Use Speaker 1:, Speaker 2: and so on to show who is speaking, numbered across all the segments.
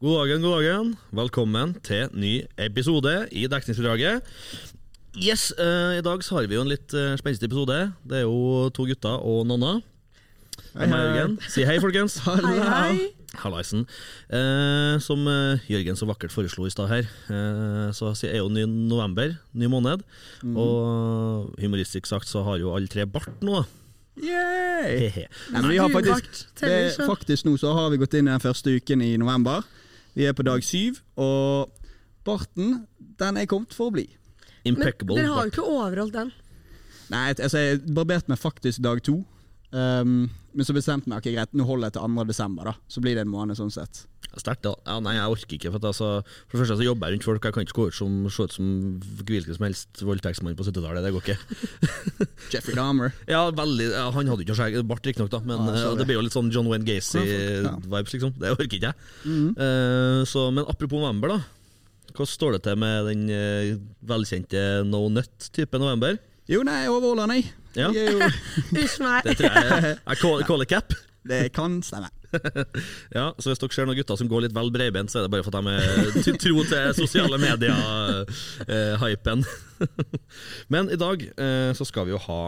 Speaker 1: God dagen, god dagen. Velkommen til ny episode i dekningsbidraget. Yes, eh, I dag så har vi jo en litt uh, spenstig episode. Det er jo to gutter og nonna. Hei, hei. Jørgen. Si hei, folkens.
Speaker 2: Hei, hei.
Speaker 1: Hallaisen. Eh, som eh, Jørgen så vakkert foreslo i stad her, eh, så si- er jo ny november, ny måned. Og humoristisk sagt så har jo alle tre bart nå.
Speaker 2: Yay!
Speaker 1: Hehe.
Speaker 2: Nei, men vi har
Speaker 3: Du,
Speaker 2: faktisk,
Speaker 3: Bart,
Speaker 2: det,
Speaker 3: teller
Speaker 2: er
Speaker 3: ikke.
Speaker 2: faktisk nå så har vi gått inn i den første uken i november. Vi er på dag syv, og barten den er kommet for å bli.
Speaker 3: Men
Speaker 1: Impeccable.
Speaker 3: dere har jo
Speaker 1: bart.
Speaker 3: ikke overholdt den.
Speaker 2: Nei, altså jeg barberte meg faktisk dag to. Um, men så bestemte jeg meg ok, greit, nå holder jeg til 2. desember, da. Så blir det en måned sånn sett.
Speaker 1: Sterkt, da. Ja, nei, jeg orker ikke. For, at, altså, for det første så jobber jeg rundt folk. Jeg kan ikke gå ut som, se ut som hvilken som helst voldtektsmann på 70-tallet. Det går ikke.
Speaker 2: Jeffrey Dahmer.
Speaker 1: Ja, veldig, ja, Han hadde jo ikke skjegg, bart riktignok, da, men
Speaker 2: Ah, sorry.
Speaker 1: eh, det blir jo litt sånn John Wayne
Speaker 2: Ja, fuck,
Speaker 1: Gacy-vibes, liksom. Det orker ikke jeg.
Speaker 2: Mm.
Speaker 1: Eh, så, men apropos november, da. Hvordan står det til med den eh, velkjente no nut-type november?
Speaker 2: Jo, nei, jeg overholder den, jeg.
Speaker 1: Ja.
Speaker 2: Jeg er jo,
Speaker 3: Unnskyld meg.
Speaker 1: Det tror jeg jeg call, call it cap.
Speaker 2: det kan stemme.
Speaker 1: Ja, så hvis dere ser noen gutter som går litt vel bredbent, så er det bare for at de er t- tro til sosiale medier-hypen. Men i dag eh, så skal vi jo ha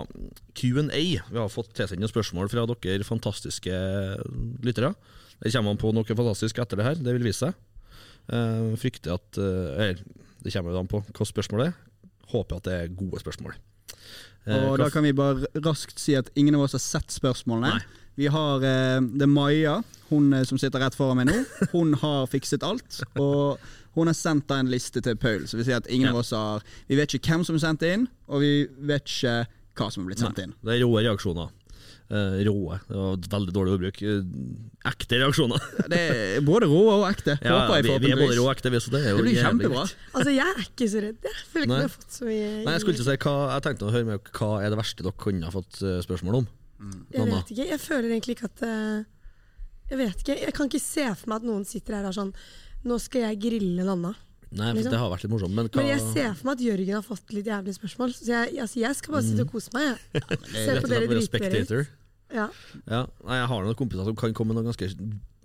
Speaker 1: Q&A. Vi har fått tilsendt noen spørsmål fra dere fantastiske lyttere. Det kommer an på noe fantastisk etter det her, det vil vise seg. Eh, Frykter at eh, eller, Det kommer jo an på hva spørsmålet er. Håper at det er gode spørsmål. Eh,
Speaker 2: Og
Speaker 1: hva
Speaker 2: da kan vi bare raskt si at ingen av oss har sett spørsmålene. Vi har eh, det er Maja, hun eh, som sitter rett foran meg nå. Hun har fikset alt. Og hun har sendt da en liste til Paul. Så vi sier at ingen
Speaker 1: Ja.
Speaker 2: av oss har Vi vet ikke hvem som er sendt inn, og vi vet ikke hva som er blitt sendt inn.
Speaker 1: Det er råe reaksjoner. Eh, råe. Det var et veldig dårlig ordbruk. Eh, ekte reaksjoner.
Speaker 2: Det er både rå og ekte.
Speaker 1: Ja,
Speaker 2: håper jeg
Speaker 1: vi, vi er både
Speaker 2: forhåpentligvis.
Speaker 1: rå og ekte, vi, så det er jo
Speaker 2: det blir
Speaker 1: jævlig
Speaker 2: kjempebra.
Speaker 1: greit.
Speaker 3: Altså, jeg er ikke så redd. Jeg føler ikke
Speaker 1: Nei.
Speaker 3: vi har fått så mye
Speaker 1: Nei, jeg skulle ikke si hva Jeg tenkte å høre med dere, hva er det verste dere kunne ha fått eh, spørsmål om?
Speaker 3: Jeg
Speaker 1: Nonna.
Speaker 3: vet ikke. Jeg føler egentlig ikke at eh, Jeg vet ikke. Jeg kan ikke se for meg at noen sitter her og er sånn Nå skal jeg grille Nanna.
Speaker 1: Nei, for
Speaker 3: Liksom.
Speaker 1: Det har vært litt morsomt, men hva
Speaker 3: Men jeg ser for meg at Jørgen har fått litt jævlige spørsmål. Så jeg, altså, jeg skal bare
Speaker 1: Mm.
Speaker 3: sitte og kose meg. Jeg. Se
Speaker 1: Rett
Speaker 3: på
Speaker 1: og slett
Speaker 3: dere
Speaker 1: være
Speaker 3: drite dere ut.
Speaker 1: spectator.
Speaker 3: Ja.
Speaker 1: Ja. Nei, jeg har noen kompiser som kan komme med noen ganske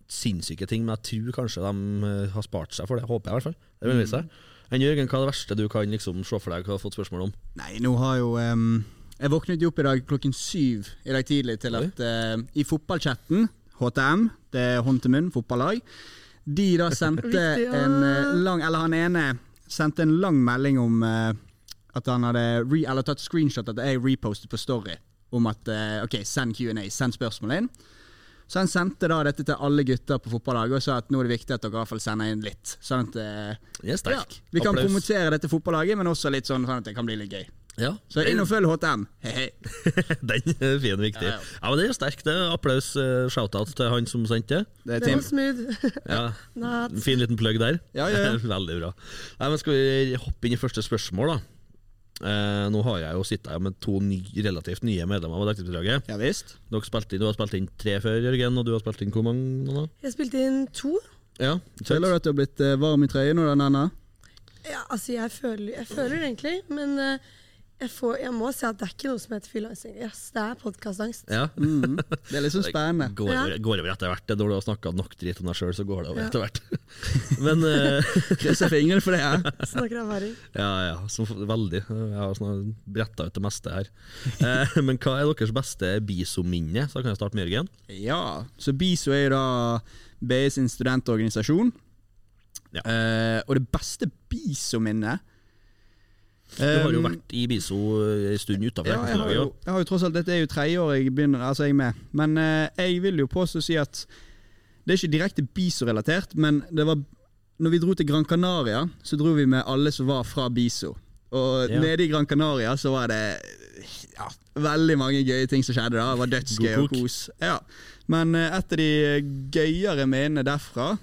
Speaker 1: sinnssyke ting, men jeg tror kanskje de eh, har spart seg for det. Håper jeg, i hvert fall. Det vil
Speaker 2: Mm.
Speaker 1: vise seg. Men Jørgen, hva er det verste du kan liksom, se for deg hva du har fått spørsmål om?
Speaker 2: Nei, nå har jo ehm, Jeg våknet jo opp i dag klokken syv i dag tidlig til at eh, i fotballchatten, HTM, det er hånd til munn, fotballag, de da sendte
Speaker 3: Viktig, ja.
Speaker 2: en eh, lang Eller han ene sendte en lang melding om eh, at han hadde re, eller tatt screenshot at jeg repostet på Story om at eh, OK, send Q&A, send spørsmål inn. Så han sendte da dette til alle gutter på fotballaget og sa at nå er det viktig at dere i hvert fall sender inn litt. Sånn at eh,
Speaker 1: Den er
Speaker 2: ja,
Speaker 1: sterk.
Speaker 2: vi kan
Speaker 1: Applaus.
Speaker 2: promotere dette fotballaget, men også litt sånn, sånn at det kan bli litt gøy.
Speaker 1: Ja.
Speaker 2: Så inn og følg HTM. Hei, hei.
Speaker 1: Den er fin og viktig.
Speaker 2: Ja, ja.
Speaker 1: Ja, men det er jo sterk. Det er applaus, eh, shout-out til han som sendte det.
Speaker 2: Det er
Speaker 3: Det
Speaker 2: Tim.
Speaker 3: var smooth.
Speaker 1: Ja.
Speaker 3: Nei,
Speaker 1: Fin liten plugg der.
Speaker 2: Ja, ja, ja.
Speaker 1: Veldig bra. Nei, men skal vi hoppe inn i første spørsmål, da? Eh, nå har jeg jo sittet her med to ny, relativt nye medlemmer av Dekningsbidraget.
Speaker 2: Ja visst.
Speaker 1: Dere spilte inn- Du har spilt inn tre før, Jørgen, og du har spilt inn hvor mange? nå da?
Speaker 3: Jeg spilte inn to.
Speaker 1: Ja,
Speaker 2: Føler du at du har blitt eh, varm i trøyen nå, da, Nanna?
Speaker 3: Ja, altså, jeg føler, jeg føler egentlig, men eh, jeg, får, jeg må si at det er ikke noe som heter fylleangst lenger. ass. Det er podkastangst.
Speaker 1: ja.
Speaker 2: Mhm. Det er liksom spennende.
Speaker 1: Går, over,
Speaker 3: Ja.
Speaker 1: går over etter hvert. Det er Når du har snakka nok drit om deg sjøl, så går det over
Speaker 3: Ja.
Speaker 1: etter hvert. Men eh,
Speaker 2: Krysser fingrene for det her.
Speaker 3: Snakker av erfaring.
Speaker 1: Ja, ja. Så, veldig. Jeg har sånn, bretta ut det meste her. Eh, men hva er deres beste bisominne? Så da kan jeg starte med Jørgen.
Speaker 2: Ja. Så BISO er jo da BI sin studentorganisasjon.
Speaker 1: Ja.
Speaker 2: Eh, og det beste BISO-minnet eh,
Speaker 1: Du har jo vært i Biso eh, en stund utafor
Speaker 2: Ja, jeg har, jo, jeg har jo tross alt Dette er jo tredje året jeg begynner Altså jeg er med Men eh, jeg vil jo påstå å si at Det er ikke direkte BISO-relatert Men det var Når vi dro til Gran Canaria Så dro vi med alle som var fra BISO Og
Speaker 1: Ja.
Speaker 2: nede i Gran Canaria Så var det Ja Veldig mange gøye ting som skjedde da Det var dødsgøy
Speaker 1: God
Speaker 2: og
Speaker 1: kok.
Speaker 2: kos Ja Men eh, et av de gøyere minnene derfra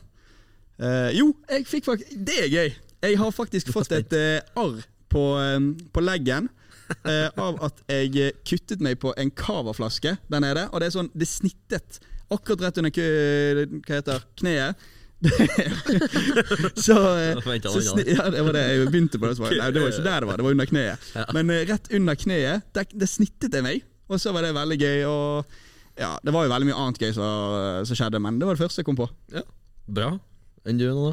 Speaker 2: Eh, jo, jeg fikk faktisk Det er gøy! Jeg har faktisk fått et eh, arr på, eh, på leggen eh, av at jeg eh, kuttet meg på en cavaflaske der nede. Og det er sånn, det snittet akkurat rett under kø, hva heter kneet. så, eh,
Speaker 1: Da forventet
Speaker 2: så
Speaker 1: han
Speaker 2: sni,
Speaker 1: det.
Speaker 2: ja, det var det jeg begynte på. Det, svaret. Nei, det var ikke der det var, det var under kneet. Men eh, rett under kneet, der, der snittet jeg meg, og så var det veldig gøy. Og ja, Det var jo veldig mye annet gøy som som skjedde, men det var det første jeg kom på.
Speaker 1: Bra. enn du? Nanna?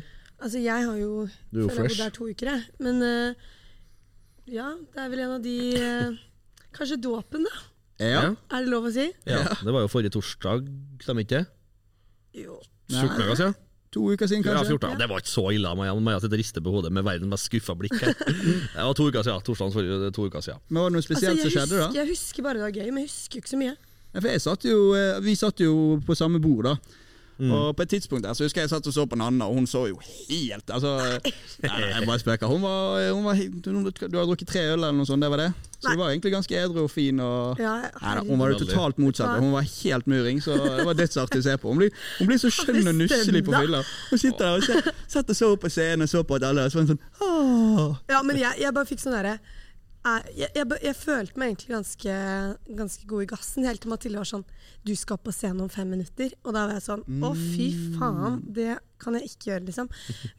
Speaker 3: Altså, jeg har jo
Speaker 1: Du er jo
Speaker 3: føler jeg har bodd
Speaker 1: fresh.
Speaker 3: der to uker, jeg. Men eh, ja, det er vel en av de eh, Kanskje dåpen, da?
Speaker 2: Ja.
Speaker 1: Ja.
Speaker 3: Er det lov å si?
Speaker 1: Ja, Det var jo forrige torsdag, stemmer ikke det?
Speaker 3: Jo.
Speaker 1: 14 dager siden?
Speaker 2: To uker siden,
Speaker 1: Ja,
Speaker 2: kanskje?
Speaker 1: 14. Det var ikke så ille av Maja. Maja sitter og rister på hodet med verdens mest skuffa blikk. her. Det var to uker siden. Torsdagens forrige to uker siden.
Speaker 2: Men Var det noe
Speaker 3: Altså,
Speaker 2: spesielt
Speaker 3: jeg,
Speaker 2: som skjedde,
Speaker 3: husker,
Speaker 2: da?
Speaker 3: jeg husker bare det var gøy, men jeg husker jo ikke så mye.
Speaker 2: Ja, for jeg satt jo, eh, vi satt jo på samme bord, da.
Speaker 3: Mm.
Speaker 2: Og på et tidspunkt der så husker jeg jeg satt og så på Nanna, og hun så jo helt altså, Nei, nei, jeg bare spøker. Hun var, hun var helt- hun, Du har drukket tre øl eller noe sånt, det var det? Så
Speaker 3: Nei.
Speaker 2: hun var egentlig ganske edru og fin. og...
Speaker 3: Ja,
Speaker 2: Nei da, hun var jo
Speaker 1: Veldig.
Speaker 2: totalt motsatt. Hun var helt muring, så det var dødsartig å se på. Hun blir, hun blir så skjønn og nusselig på fylla. Hun sitter der og ser, satt og så på scenen og så på at alle og så var hun sånn Åh.
Speaker 3: Ja, men jeg, jeg bare fikk sånn derre jeg, jeg, jeg, jeg følte meg egentlig ganske, ganske god i gassen, helt til Mathilde var sånn Du skal på scenen om fem minutter. Og da var jeg sånn Å, fy
Speaker 2: Mm.
Speaker 3: faen, det kan jeg ikke gjøre, liksom.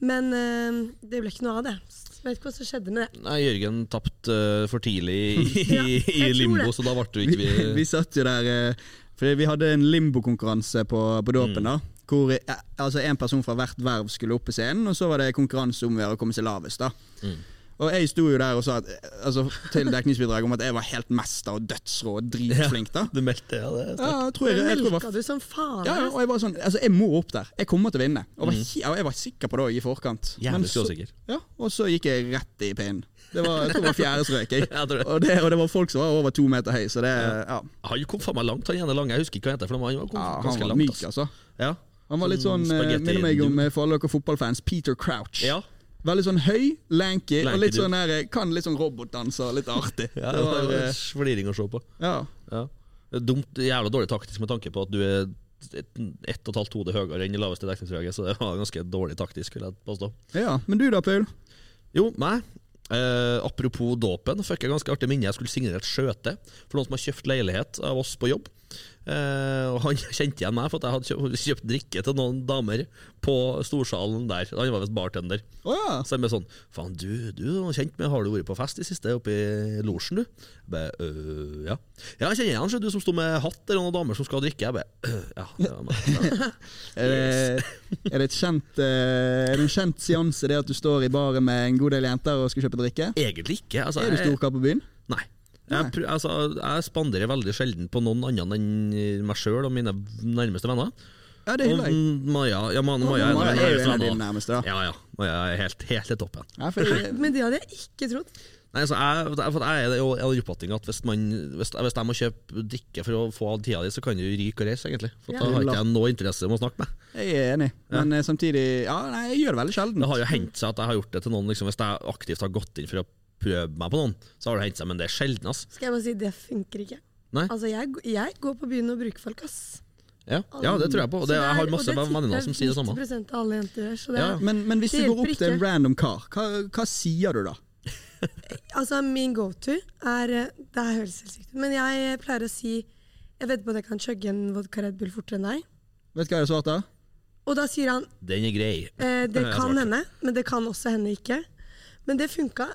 Speaker 3: Men eh, det ble ikke noe av det. Så jeg vet ikke hva som skjedde med det.
Speaker 1: Nei, Jørgen tapte eh, for tidlig i,
Speaker 3: Ja,
Speaker 1: i,
Speaker 3: jeg tror
Speaker 1: limbo,
Speaker 3: det.
Speaker 1: så da ble jo
Speaker 2: Vi,
Speaker 1: ikke vi
Speaker 2: vi satt jo der eh, Fordi vi hadde en limbokonkurranse på, på dåpen, da. Hvor eh, altså en person fra hvert verv skulle opp på scenen, og så var det konkurranse om å gjøre å komme seg lavest. da Og jeg sto jo der og sa at, eh, altså, til dekningsbidraget om at jeg var helt mester og dødsrå og dritflink, da.
Speaker 1: Du meldte ja, det.
Speaker 2: Ja, jeg tror jeg, jeg, tror jeg var
Speaker 3: Melka du som faen?
Speaker 2: Ja, ja, og jeg var sånn, altså jeg må opp der. Jeg kommer til å vinne. Og var, he- og jeg var sikker på det også i forkant. Men
Speaker 1: Jævlig
Speaker 2: så-
Speaker 1: skråsikker.
Speaker 2: Mm. Ja, og så gikk jeg rett i pinnen. Det var, jeg tror det var fjerde strøk. Jeg.
Speaker 1: Ja, jeg tror det.
Speaker 2: Og, det, og det var folk som var over to meter høy, så det ja.
Speaker 1: Han kom faen meg langt, han ene lange. Jeg husker ikke hva han heter. for Han var, han kom
Speaker 2: ja han
Speaker 1: ganske
Speaker 2: var
Speaker 1: langt.
Speaker 2: myk,
Speaker 1: ass.
Speaker 2: altså.
Speaker 1: Ja.
Speaker 2: Han var litt
Speaker 1: Sånn
Speaker 2: sånn, eh,
Speaker 1: spagetti-
Speaker 2: minner meg om eh, for alle dere fotballfans, Peter Crouch.
Speaker 1: Ja.
Speaker 2: Veldig sånn høy, lanky,
Speaker 1: Lanky
Speaker 2: og litt
Speaker 1: dude.
Speaker 2: sånn der, eh, kan litt sånn robotdanse og litt artig.
Speaker 1: ja,
Speaker 2: det
Speaker 1: det var
Speaker 2: var, eh,
Speaker 1: fliring å se på.
Speaker 2: ja.
Speaker 1: Ja. Dumt, jævla dårlig taktisk med tanke på at du er ett ett og et halvt hode høyere enn det laveste dekningsdraget, så det var ganske dårlig taktisk, vil jeg påstå.
Speaker 2: ja. Men du da, Paul?
Speaker 1: Jo, meg. Eh, apropos dåpen, fikk jeg ganske artig minne. Jeg skulle signere et skjøte for noen som har kjøpt leilighet av oss på jobb. Eh, og Han kjente igjen meg, for at jeg hadde kjøpt, kjøpt drikke til noen damer på storsalen der. Han var visst bartender.
Speaker 2: Å ja.
Speaker 1: Så jeg ble sånn Faen, du, du er kjent med Har du vært på fest i siste oppe i losjen, du? Jeg bare, øh, ja. Ja, jeg kjenner igjen, ser du, som sto med hatt der, og noen damer som skal drikke. Jeg bare, øh, ja, det var meg.
Speaker 2: Er det, er det, et kjent, eh, er det en kjent seanse det at du står i baren med en god del jenter og skal kjøpe drikke?
Speaker 1: Egentlig ikke. Altså,
Speaker 2: Er du
Speaker 1: jeg-
Speaker 2: storkar på byen?
Speaker 1: Nei. Jeg,
Speaker 2: Nei.
Speaker 1: prø- altså, jeg spanderer veldig sjelden på noen annen enn meg sjøl og mine nærmeste venner.
Speaker 2: Ja, det
Speaker 1: Og
Speaker 2: hyller jeg.
Speaker 1: Maja, ja, Maja, Maja,
Speaker 2: Maja
Speaker 1: er en av
Speaker 2: Mm, er jo
Speaker 1: mine
Speaker 2: en av
Speaker 1: venner.
Speaker 2: dine nærmeste, da.
Speaker 1: Ja, ja. Maja er helt, helt i toppen.
Speaker 2: Ja, for det,
Speaker 3: Men det hadde jeg ikke trodd.
Speaker 1: Nei, så jeg, for jeg er jo av den oppfatning at hvis, man, hvis, hvis jeg må kjøpe drikke for å få all tida di, så kan du ryke og reise, egentlig. For
Speaker 3: Ja.
Speaker 1: da har ikke jeg noe interesse om å snakke med.
Speaker 2: jeg er enig, men eh, samtidig Ja, nei, jeg gjør det veldig
Speaker 1: Det
Speaker 2: sjelden.
Speaker 1: har jo hendt seg at jeg har gjort det til noen, liksom, hvis jeg aktivt har gått inn for å prøve meg på noen, så har det hendt seg, men det er sjelden, ass.
Speaker 3: Skal jeg bare si, det funker ikke.
Speaker 1: Nei.
Speaker 3: Altså, jeg, jeg går på byen og bruker folk, ass.
Speaker 1: Ja, ja det tror jeg på. Og det, jeg har masse venner som sier det
Speaker 3: Og
Speaker 1: samme.
Speaker 3: det tipper jeg 90 av alle jenter gjør. Så det
Speaker 1: Ja.
Speaker 3: er,
Speaker 2: Men, men hvis
Speaker 3: Det
Speaker 2: du går
Speaker 3: hjelper
Speaker 2: opp til en
Speaker 3: ikke.
Speaker 2: random kar, hva, hva sier du da?
Speaker 3: Altså, min go-to er eh, Det her høres helt sykt ut, men jeg eh, pleier å si Jeg vet på at jeg kan chugge en vodka Red Bull fortere enn deg.
Speaker 2: Vet du hva jeg har svart da?
Speaker 3: Og da sier han
Speaker 1: Den er grei.
Speaker 3: eh, det
Speaker 1: Jeg
Speaker 3: kan
Speaker 1: svarte.
Speaker 3: hende, men det kan også hende ikke. Men det funka.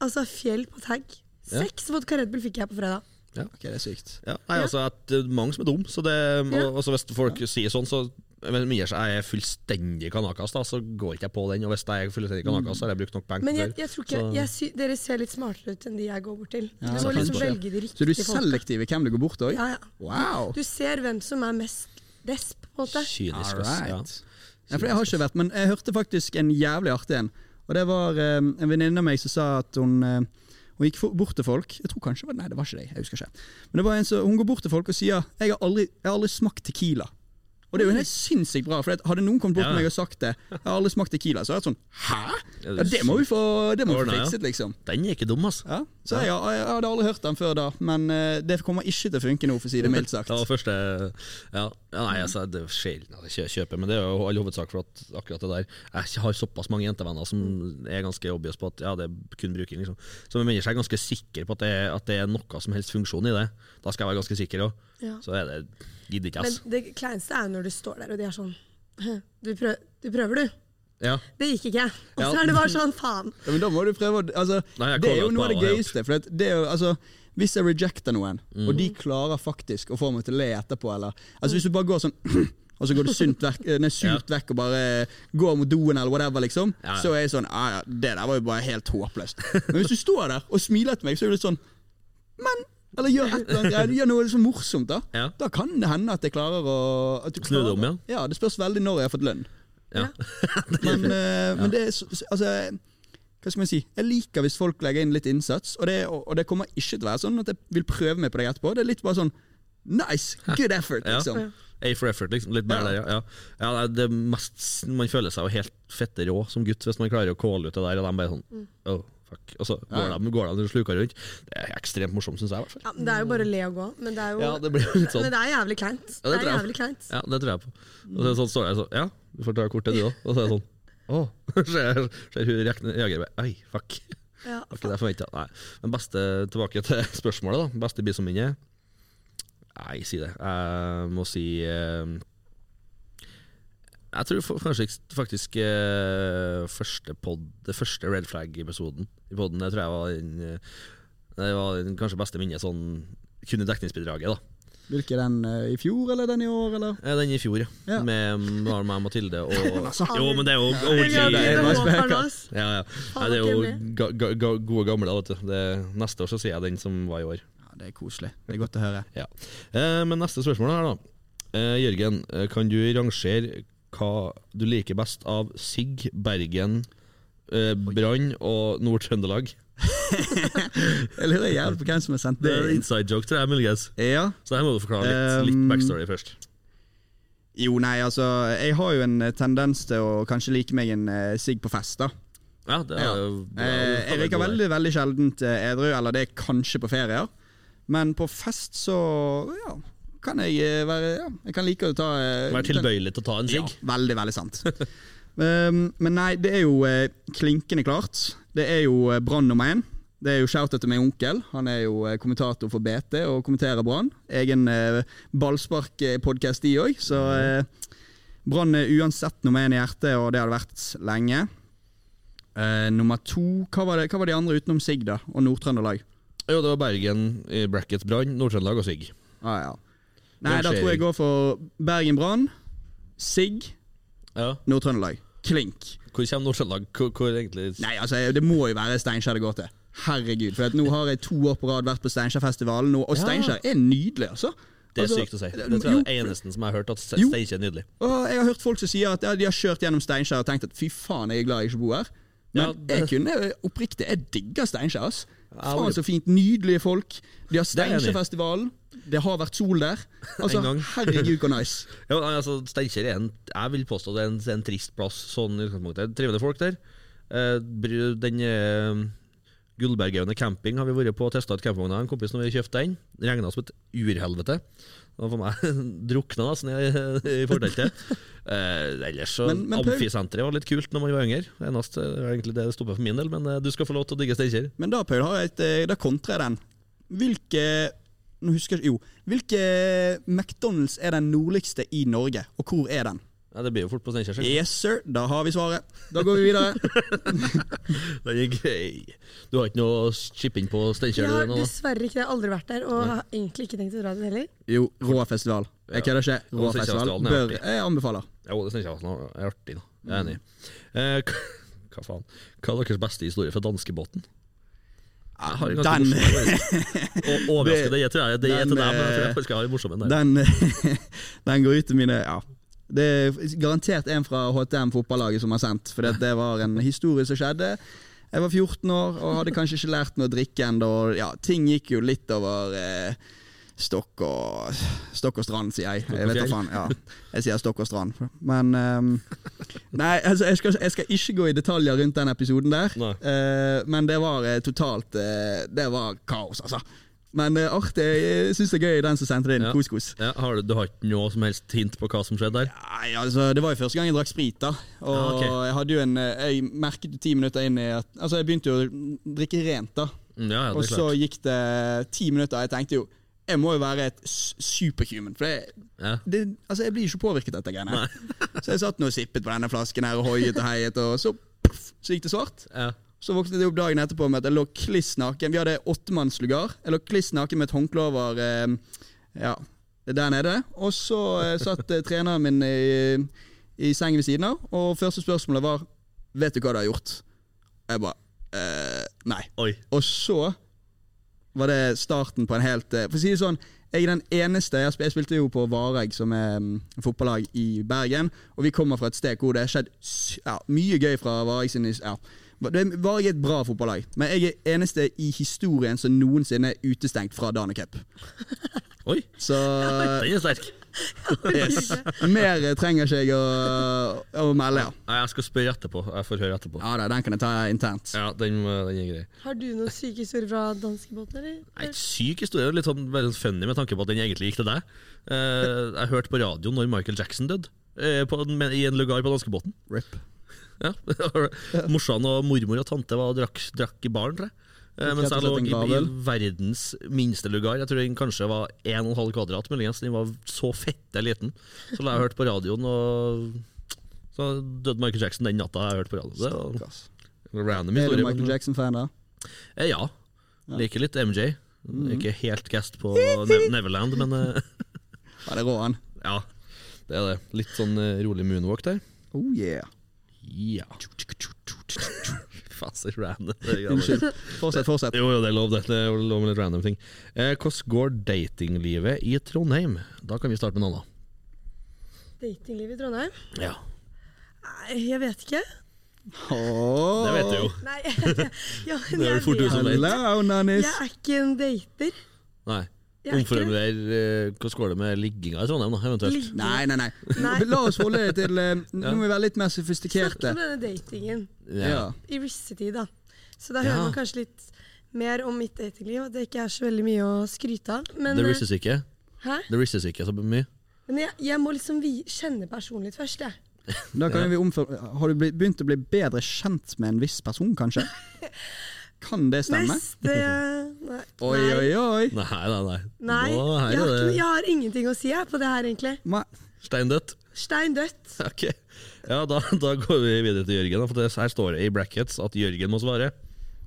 Speaker 3: Altså, fjell på tag.
Speaker 1: Ja.
Speaker 3: Seks vodka Red Bull fikk jeg på fredag.
Speaker 2: Ok, det er sykt.
Speaker 1: Ja, nei, altså at det er mange som er dum Så det,
Speaker 3: Ja.
Speaker 1: og, og så hvis folk sier sånn Så men med mindre jeg er fullstendig kanakas da, Så går ikke jeg på den Og hvis jeg er fullstendig kanakas Så har jeg brukt nok penger
Speaker 3: Mm. Men jeg,
Speaker 1: før.
Speaker 3: jeg tror ikke
Speaker 1: Så-
Speaker 3: jeg sy Dere ser litt smartere ut enn de jeg går bort til.
Speaker 2: Ja,
Speaker 3: du
Speaker 2: så
Speaker 3: må liksom
Speaker 2: kanskje.
Speaker 3: velge de
Speaker 2: Så du
Speaker 3: riktige
Speaker 2: er
Speaker 3: folka.
Speaker 2: selektiv i hvem du går bort til? også?
Speaker 3: Ja, ja.
Speaker 2: Wow!
Speaker 3: Du ser hvem som er mest desp, på en måte.
Speaker 1: Kynisk
Speaker 2: All
Speaker 1: ass, ja.
Speaker 2: right. Ja, for det har jeg ikke vært, men jeg hørte faktisk en jævlig artig en. Og det var eh, en venninne av meg som sa at hun eh, hun gikk for- bort til folk Jeg tror kanskje det var, Nei, det var ikke det. Jeg husker ikke. Men det var en som, hun går bort til folk og sier jeg har aldri, jeg har aldri smakt Tequila. Og det er jo helt sinnssykt bra, for at hadde noen kommet bort
Speaker 1: Ja.
Speaker 2: til meg og sagt det, jeg har aldri smakt Tequila, så hadde jeg vært sånn Hæ?!
Speaker 1: Ja,
Speaker 2: Ja, det må vi få, det må vi
Speaker 1: Ordnet,
Speaker 2: få
Speaker 1: ja.
Speaker 2: fikset, liksom.
Speaker 1: Den er ikke dum altså. ass
Speaker 2: Ja. Så jeg, har- jeg hadde aldri hørt den før da, men eh, det kommer ikke til å funke nå, for å si det mildt sagt.
Speaker 1: Det var første Ja, ja nei, altså, det er sjelden at jeg kjø- kjøper Men det er jo all hovedsak for at akkurat det der Jeg har såpass mange jentevenner som er ganske obvious på at Ja, det er kun bruking liksom Så med mennesker er ganske sikker på at det, er- at det er noe som helst funksjon i det Da skal jeg være ganske sikker også
Speaker 3: Ja.
Speaker 1: Så er det gidder ikke altså. ass
Speaker 3: Men det kleinste er jo når du står der og de er sånn Du, prøv, du prøver, du.
Speaker 1: Ja
Speaker 3: Det gikk ikke. Og så
Speaker 1: Ja.
Speaker 3: er det bare sånn, faen.
Speaker 2: Ja, men da må du prøve å altså,
Speaker 1: Nei, jeg
Speaker 2: Det er
Speaker 1: kommer
Speaker 2: jo
Speaker 1: på
Speaker 2: noe av det
Speaker 1: hva jeg har
Speaker 2: gøyeste. For det er jo, altså,
Speaker 1: Mm.
Speaker 2: hvis jeg rejecter noen, og de klarer faktisk å få meg til å le etterpå, eller altså, Hvis du bare går sånn og så går du sunt vekk, eh, nei, surt vekk og bare går mot doen eller whatever, liksom,
Speaker 1: Ja, ja.
Speaker 2: så er jeg sånn ah, ja, Det der var jo bare helt håpløst. Men hvis du står der og smiler til meg, så er du litt sånn Men! Eller gjør, et eller annet, greier, gjør noe liksom morsomt, da.
Speaker 1: Ja.
Speaker 2: Da kan det hende at jeg klarer å at
Speaker 1: Snu
Speaker 2: du
Speaker 1: det
Speaker 2: klarer-
Speaker 1: om, ja.
Speaker 2: Ja, Det spørs veldig når jeg har fått lønn.
Speaker 1: Ja.
Speaker 2: Men, eh, men det er så- så- altså, Hva skal man si? Jeg liker hvis folk legger inn litt innsats, og det, og og det kommer ikke til å være sånn at jeg vil prøve meg på deg etterpå. Det er litt bare sånn Nice! Good effort!
Speaker 1: Ja.
Speaker 2: liksom.
Speaker 1: A for effort, liksom. Litt mer
Speaker 2: Ja.
Speaker 1: der, ja. ja. ja nei, det er mest, man føler seg jo helt fette rå som gutt hvis man klarer å calle ut det der, og de bare
Speaker 3: Mm.
Speaker 1: sånn oh, fuck. Og så går
Speaker 2: Ja.
Speaker 1: de, går de og sluker rundt. Det er ekstremt morsomt, syns jeg. i hvert fall.
Speaker 3: Ja, men det er jo bare å le og gå, men det er jo
Speaker 1: Ja, det blir jo litt sånn.
Speaker 3: Men det er jævlig kleint.
Speaker 1: Ja, det tror
Speaker 3: det, er Mm.
Speaker 1: jeg.
Speaker 3: jævlig kleint.
Speaker 1: Ja, det tror jeg på. Og så, sånn står jeg sånn, ja, du får ta kortet du òg. Og så er jeg sånn, å. Ser ser hun rekne- jager meg. Oi, fuck.
Speaker 3: Ja.
Speaker 1: Var ikke det jeg forventet. Nei. Men beste, tilbake til spørsmålet, da. Beste bisomminne? Nei, si det. Jeg må si eh, Jeg tror fa- kanskje ikke- faktisk eh, første pod, det første red flag-episoden i poden, det tror jeg var den, eh, det var den kanskje beste minnet sånn kunne dekningsbidraget, da.
Speaker 2: Hvilken er den eh, i fjor, eller den i år, eller?
Speaker 1: Eh, Den i fjor, ja.
Speaker 2: Ja.
Speaker 1: Med bare meg og Mathilde og
Speaker 2: altså.
Speaker 1: Jo, men det er jo
Speaker 3: Jeg
Speaker 1: OG.
Speaker 3: gleder meg til
Speaker 2: det er
Speaker 3: å
Speaker 2: nice
Speaker 3: gå, Carlos.
Speaker 1: Ja, ja. Nei, det er jo ga, ga, ga, gode gamle, da, vet du. Det, neste år så sier jeg den som var i år.
Speaker 2: Ja, det er koselig. Det er godt å høre.
Speaker 1: Ja. Eh, men neste spørsmål her, da. Eh, Jørgen, eh, kan du rangere hva du liker best av Sigg, Bergen, eh, Brann og Nord-Trøndelag?
Speaker 2: Jeg lurer jævlig på hvem som har sendt
Speaker 1: Det
Speaker 2: det
Speaker 1: er en
Speaker 2: inn.
Speaker 1: inside joke, tror jeg, muligens.
Speaker 2: Ja.
Speaker 1: Så her må du forklare litt, litt
Speaker 2: Um,
Speaker 1: backstory først.
Speaker 2: Jo, nei, altså Jeg har jo en eh, tendens til å kanskje like meg en eh, sigg på fest, da.
Speaker 1: Ja, det er
Speaker 2: Ja.
Speaker 1: jo bra.
Speaker 2: Eh, jeg virker veldig veldig sjeldent eh, edru, eller det er kanskje på ferier. Men på fest så ja, kan jeg eh, være ja, Jeg kan like å ta eh,
Speaker 1: Vær tilbøyelig til å ta en
Speaker 2: Ja,
Speaker 1: sigg.
Speaker 2: veldig, veldig sant. um, men nei, det er jo eh, klinkende klart. Det er jo eh, Brann nummer én. Det er jo shout-out til min onkel. Han er jo eh, kommentator for BT og kommenterer Brann. Egen eh, ballsparkpodkast, de òg. Så eh, Brann er uansett nummer én i hjertet, og det har det vært lenge. Eh, nummer to hva var, det, hva var de andre utenom Sigg da, og Nord-Trøndelag?
Speaker 1: Jo, det var Bergen, eh, brackets Brann, Nord-Trøndelag og Sigg.
Speaker 2: Ah, ja. Nei, da tror jeg jeg går for Bergen Brann, Sigg,
Speaker 1: Ja.
Speaker 2: Nord-Trøndelag. Klink.
Speaker 1: Hvor kommer Nord-Trøndelag? Hvor, hvor egentlig
Speaker 2: Nei, altså, det må jo være Steinkjer det går til. Herregud. For at nå har jeg to år på rad vært på Steinkjerfestivalen, og, og
Speaker 1: Ja.
Speaker 2: Steinkjer er nydelig, altså.
Speaker 1: Det er
Speaker 2: altså,
Speaker 1: sykt å si. Det tror jeg er det eneste som jeg har hørt, at
Speaker 2: Jo.
Speaker 1: Steinkjer er nydelig.
Speaker 2: Og jeg har hørt folk som sier at ja, de har kjørt gjennom Steinkjer og tenkt at fy faen, jeg er glad jeg ikke bor her. Men
Speaker 1: Ja, det-
Speaker 2: jeg kunne oppriktig Jeg digger Steinkjer, ass.
Speaker 1: Ja,
Speaker 2: Faen
Speaker 1: det-
Speaker 2: så fint. Nydelige folk. De
Speaker 1: er jeg enig
Speaker 2: har
Speaker 1: i.
Speaker 2: Steinkjerfestivalen. Det har vært sol der. Altså,
Speaker 1: En gang.
Speaker 2: herregud, hvor nice.
Speaker 1: Ja, nei, altså, Steinkjer er en Jeg vil påstå det er en, det er en trist plass, sånn i utgangspunktet. Trivelige folk der. Eh, br- Den eh, Gullbergaune camping har vi vært på og testa ut campingvogna. En kompis når vi kjøpte den. Regna som et urhelvete. Det var for meg drukna nesten i, i forteltet. Eh, ellers så
Speaker 2: Men- men Paul-
Speaker 1: Amfisenteret var litt kult når man var yngre. Det eneste det var egentlig det det stoppa for min del, men eh, du skal få lov til å digge Steinkjer.
Speaker 2: Men da, Paul, har jeg et, eh, da kontrer jeg den. Hvilke Nå husker jeg ikke- Jo. Hvilke McDonald's er den nordligste i Norge, og hvor er den?
Speaker 1: Ja, det blir jo fort på Steinkjer. sikkert.
Speaker 2: Yes, sir. Da har vi svaret. Da går vi videre.
Speaker 1: Den er grei. Du har ikke noe å chippe inn på Steinkjer?
Speaker 3: Jeg
Speaker 1: du,
Speaker 3: har
Speaker 1: nå, da?
Speaker 3: dessverre ikke det. Jeg har Aldri vært der, og har egentlig ikke tenkt å dra dit heller.
Speaker 2: Jo, Rå festival. Jeg kødder ikke.
Speaker 1: Og
Speaker 2: Rå festival
Speaker 1: Steinkjerfestivalen er
Speaker 2: bør
Speaker 1: artig.
Speaker 2: Jeg anbefaler.
Speaker 1: Jo, det synes jeg var sånn, det er artig. da Jeg er enig. Eh, hva, hva faen? Hva er deres beste historie fra danskebåten? Jeg har en ganske
Speaker 2: den-
Speaker 1: morsom en, faktisk. Og Overraskende, det tror jeg det er til
Speaker 2: den,
Speaker 1: deg, men jeg tror jeg
Speaker 2: eh,
Speaker 1: faktisk jeg har en morsom en der.
Speaker 2: Den, den går ut til mine Ja. Det er garantert en fra HTM fotballaget som har sendt, for det var en historie som skjedde. Jeg var 14 år og hadde kanskje ikke lært meg å drikke ennå. og Ja, ting gikk jo litt over eh, stokk, og, stokk og strand, sier jeg. Jeg vet da faen. Ja, jeg sier stokk og strand. Men ehm, Nei, altså, jeg skal, jeg skal ikke gå i detaljer rundt den episoden der.
Speaker 1: Nei.
Speaker 2: Eh, men det var eh, totalt eh, Det var kaos, altså. Men eh, artig. Jeg syns det er gøy, den som sendte det inn.
Speaker 1: Ja.
Speaker 2: Kos-kos.
Speaker 1: Ja, har du, du har ikke noe som helst hint på hva som skjedde der?
Speaker 2: Nei, altså, Det var jo første gang jeg drakk sprit. da Og
Speaker 1: Ah, ok.
Speaker 2: jeg hadde jo en eh, Jeg merket jo ti minutter inn i at Altså, jeg begynte jo å drikke rent, da.
Speaker 1: Mm, Ja, ja,
Speaker 2: Og
Speaker 1: det er
Speaker 2: så
Speaker 1: klart.
Speaker 2: gikk det ti minutter, og jeg tenkte jo Jeg må jo være et s- superhuman. For det,
Speaker 1: Ja.
Speaker 2: det, altså, jeg blir ikke påvirket av dette greiene. Så jeg satt nå og sippet på denne flasken her og hoiet og heiet, og så, puff, så gikk det svart.
Speaker 1: Ja.
Speaker 2: Så våknet jeg opp dagen etterpå med at jeg lå kliss naken. Vi hadde åttemannslugar. Jeg lå kliss naken med et håndkle over eh, ja, der nede. Og så eh, satt eh, treneren min i, i sengen ved siden av, og første spørsmålet var Vet du hva du har gjort? Jeg bare eh, Nei.
Speaker 1: Oi.
Speaker 2: Og så var det starten på en helt eh, For å si det sånn, jeg er den eneste Jeg, spil, jeg spilte jo på Vareg, som er mm, fotballag i Bergen, og vi kommer fra et sted hvor det har skjedd s- ja, mye gøy fra Vareg sin his- ja. Va- det- Vareg er et bra fotballag, men jeg er eneste i historien som noensinne er utestengt fra Dana Cup.
Speaker 1: Oi,
Speaker 2: Så Eh,
Speaker 1: den er sterk.
Speaker 2: yes. mer eh, trenger ikke jeg å, å melde, ja.
Speaker 1: Nei, Jeg skal spørre etterpå. Jeg får høre etterpå.
Speaker 2: Ja da, den kan jeg ta internt.
Speaker 1: Ja, den, må- den er grei.
Speaker 3: Har du noen syke historier fra danskebåten, eller?
Speaker 1: Nei, syk historie. det er Litt sånn veldig funny med tanke på at den egentlig gikk til deg. Eh, jeg hørte på radioen når Michael Jackson døde, eh, på, en- med, i en lugar på danskebåten.
Speaker 2: Rip.
Speaker 1: Ja. Morsan og mormor og tante var og drakk, drakk i baren, tror jeg. Eh,
Speaker 2: Rett
Speaker 1: mens
Speaker 2: og
Speaker 1: jeg
Speaker 2: slett
Speaker 1: lå
Speaker 2: en
Speaker 1: i, i
Speaker 2: gavel.
Speaker 1: verdens minste lugar. Jeg tror den kanskje var 1,5 kvadrat, muligens. Den var så fette liten. Så la jeg hørt på radioen, og så døde Michael Jackson den natta jeg hørte på radioen. Det
Speaker 2: Stakkars.
Speaker 1: var en random
Speaker 2: Er du
Speaker 1: historie.
Speaker 2: Michael
Speaker 1: men-
Speaker 2: Jackson-fan, da?
Speaker 1: Eh, ja. Liker litt MJ. Ikke helt gassed på ne Neverland, men eh,
Speaker 2: Ja, det er rå, han.
Speaker 1: ja. Det er det. Litt sånn eh, rolig moonwalk der.
Speaker 2: Oh yeah.
Speaker 1: Ja. Faen, så random. det er greiene.
Speaker 2: Unnskyld. Fortsett, fortsett.
Speaker 1: Jo, jo, det er lov, det. Det er lov med litt random ting. Eh, hvordan går datinglivet i Trondheim? Da kan vi starte med Nanna.
Speaker 3: Datinglivet i Trondheim?
Speaker 1: Ja.
Speaker 3: Nei, jeg vet ikke.
Speaker 2: Åh.
Speaker 1: Det vet du jo.
Speaker 3: Nei, jeg, ja, men
Speaker 1: Det er jo
Speaker 3: jeg,
Speaker 1: fort ut
Speaker 3: vet.
Speaker 1: som-
Speaker 2: Hello, nannies.
Speaker 3: jeg er ikke en dater.
Speaker 1: Nei.
Speaker 3: Jeg er ikke det.
Speaker 1: Omformuler eh, hvordan går det med ligginga i Trondheim, da, eventuelt?
Speaker 3: Ligge-
Speaker 2: Nei, nei, nei.
Speaker 3: Nei.
Speaker 2: La oss holde det til eh, Nå må vi være litt mer
Speaker 3: Snakk
Speaker 2: sofistikerte.
Speaker 3: om denne datingen
Speaker 2: Ja.
Speaker 3: i russetid, da. Så da
Speaker 1: Ja.
Speaker 3: hører man kanskje litt mer om mitt datingliv, at det ikke er så veldig mye å skryte av. Men,
Speaker 1: Det
Speaker 3: eh,
Speaker 1: risses ikke.
Speaker 3: hæ?
Speaker 1: Det risses ikke så mye.
Speaker 3: men jeg, jeg må liksom vi, kjenne personen litt først, jeg.
Speaker 2: Da kan vi omføre Har du bli- begynt å bli bedre kjent med en viss person, kanskje? Kan det stemme?
Speaker 3: Neste eh, Nei.
Speaker 2: Oi, oi, oi.
Speaker 1: Nei, nei, nei.
Speaker 3: Nei,
Speaker 1: Nå, her
Speaker 3: jeg har,
Speaker 1: er
Speaker 3: ikke,
Speaker 1: det
Speaker 3: jeg har ingenting å si jeg, på det her, egentlig.
Speaker 2: Ma-
Speaker 1: steindødt.
Speaker 3: Stein dødt.
Speaker 1: Ok, ja da, da går vi videre til Jørgen. da, For det, her står det i brackets at Jørgen må svare.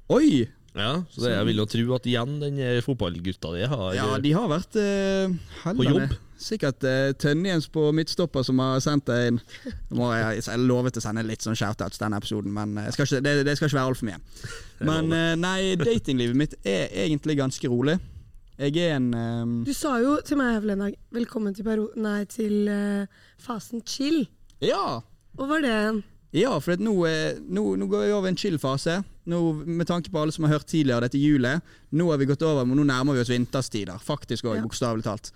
Speaker 2: Oi!
Speaker 1: Ja, Så det, jeg vil jo tro at igjen den eh, fotballgutta di har
Speaker 2: Ja, de har vært eh, heldige.
Speaker 1: På jobb?
Speaker 2: Sikkert uh, Tønjens på midtstopper som har sendt deg inn. Nå Må jeg, jeg lovet å sende litt sånn shoutouts denne episoden, men eh, jeg skal ikke, det, det skal ikke være altfor mye. Men eh, nei, datinglivet mitt er egentlig ganske rolig. Jeg er en eh,
Speaker 3: Du sa jo til meg her forleden dag 'velkommen til, peri- nei, til eh, fasen chill'.
Speaker 2: Ja!
Speaker 3: Og var det en
Speaker 2: Ja, for at nå, eh, nå, nå går vi over i en chill-fase. Nå, Med tanke på alle som har hørt tidligere dette julet. Nå har vi gått over, men nå nærmer vi oss vinterstider. Faktisk òg,
Speaker 3: Ja.
Speaker 2: bokstavelig talt.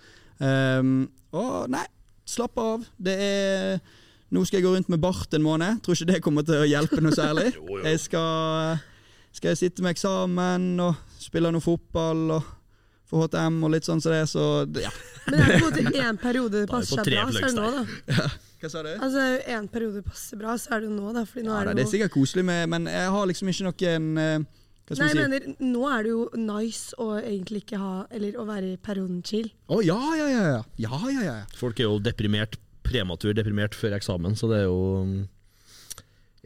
Speaker 2: Ehm, og nei, slapp av. Det er Nå skal jeg gå rundt med bart en måned. Tror ikke det kommer til å hjelpe noe særlig.
Speaker 1: Jo, jo.
Speaker 2: Jeg skal, skal jeg sitte med eksamen og spille noe fotball og få HTM og litt sånn som det, så det- ja.
Speaker 3: Men er det på en måte én periode
Speaker 1: Da
Speaker 3: det
Speaker 1: er det på
Speaker 3: passer seg
Speaker 1: tre
Speaker 3: bra, så er det nå, da.
Speaker 2: Hva sa du?
Speaker 3: Altså, én periode passer bra, så er det jo nå, da. Fordi nå
Speaker 2: Ja,
Speaker 3: er
Speaker 2: da,
Speaker 3: det
Speaker 2: det er
Speaker 3: jo
Speaker 2: sikkert koselig, med, men jeg har liksom ikke noen eh, Hva skal
Speaker 3: Nei,
Speaker 2: vi si?
Speaker 3: jeg mener, nå er det jo nice å egentlig ikke ha Eller å være i perioden chill.
Speaker 2: Å ja, ja, ja, ja. Ja, ja, ja. ja.
Speaker 1: Folk er jo deprimert, prematur deprimert før eksamen, så det er jo mm,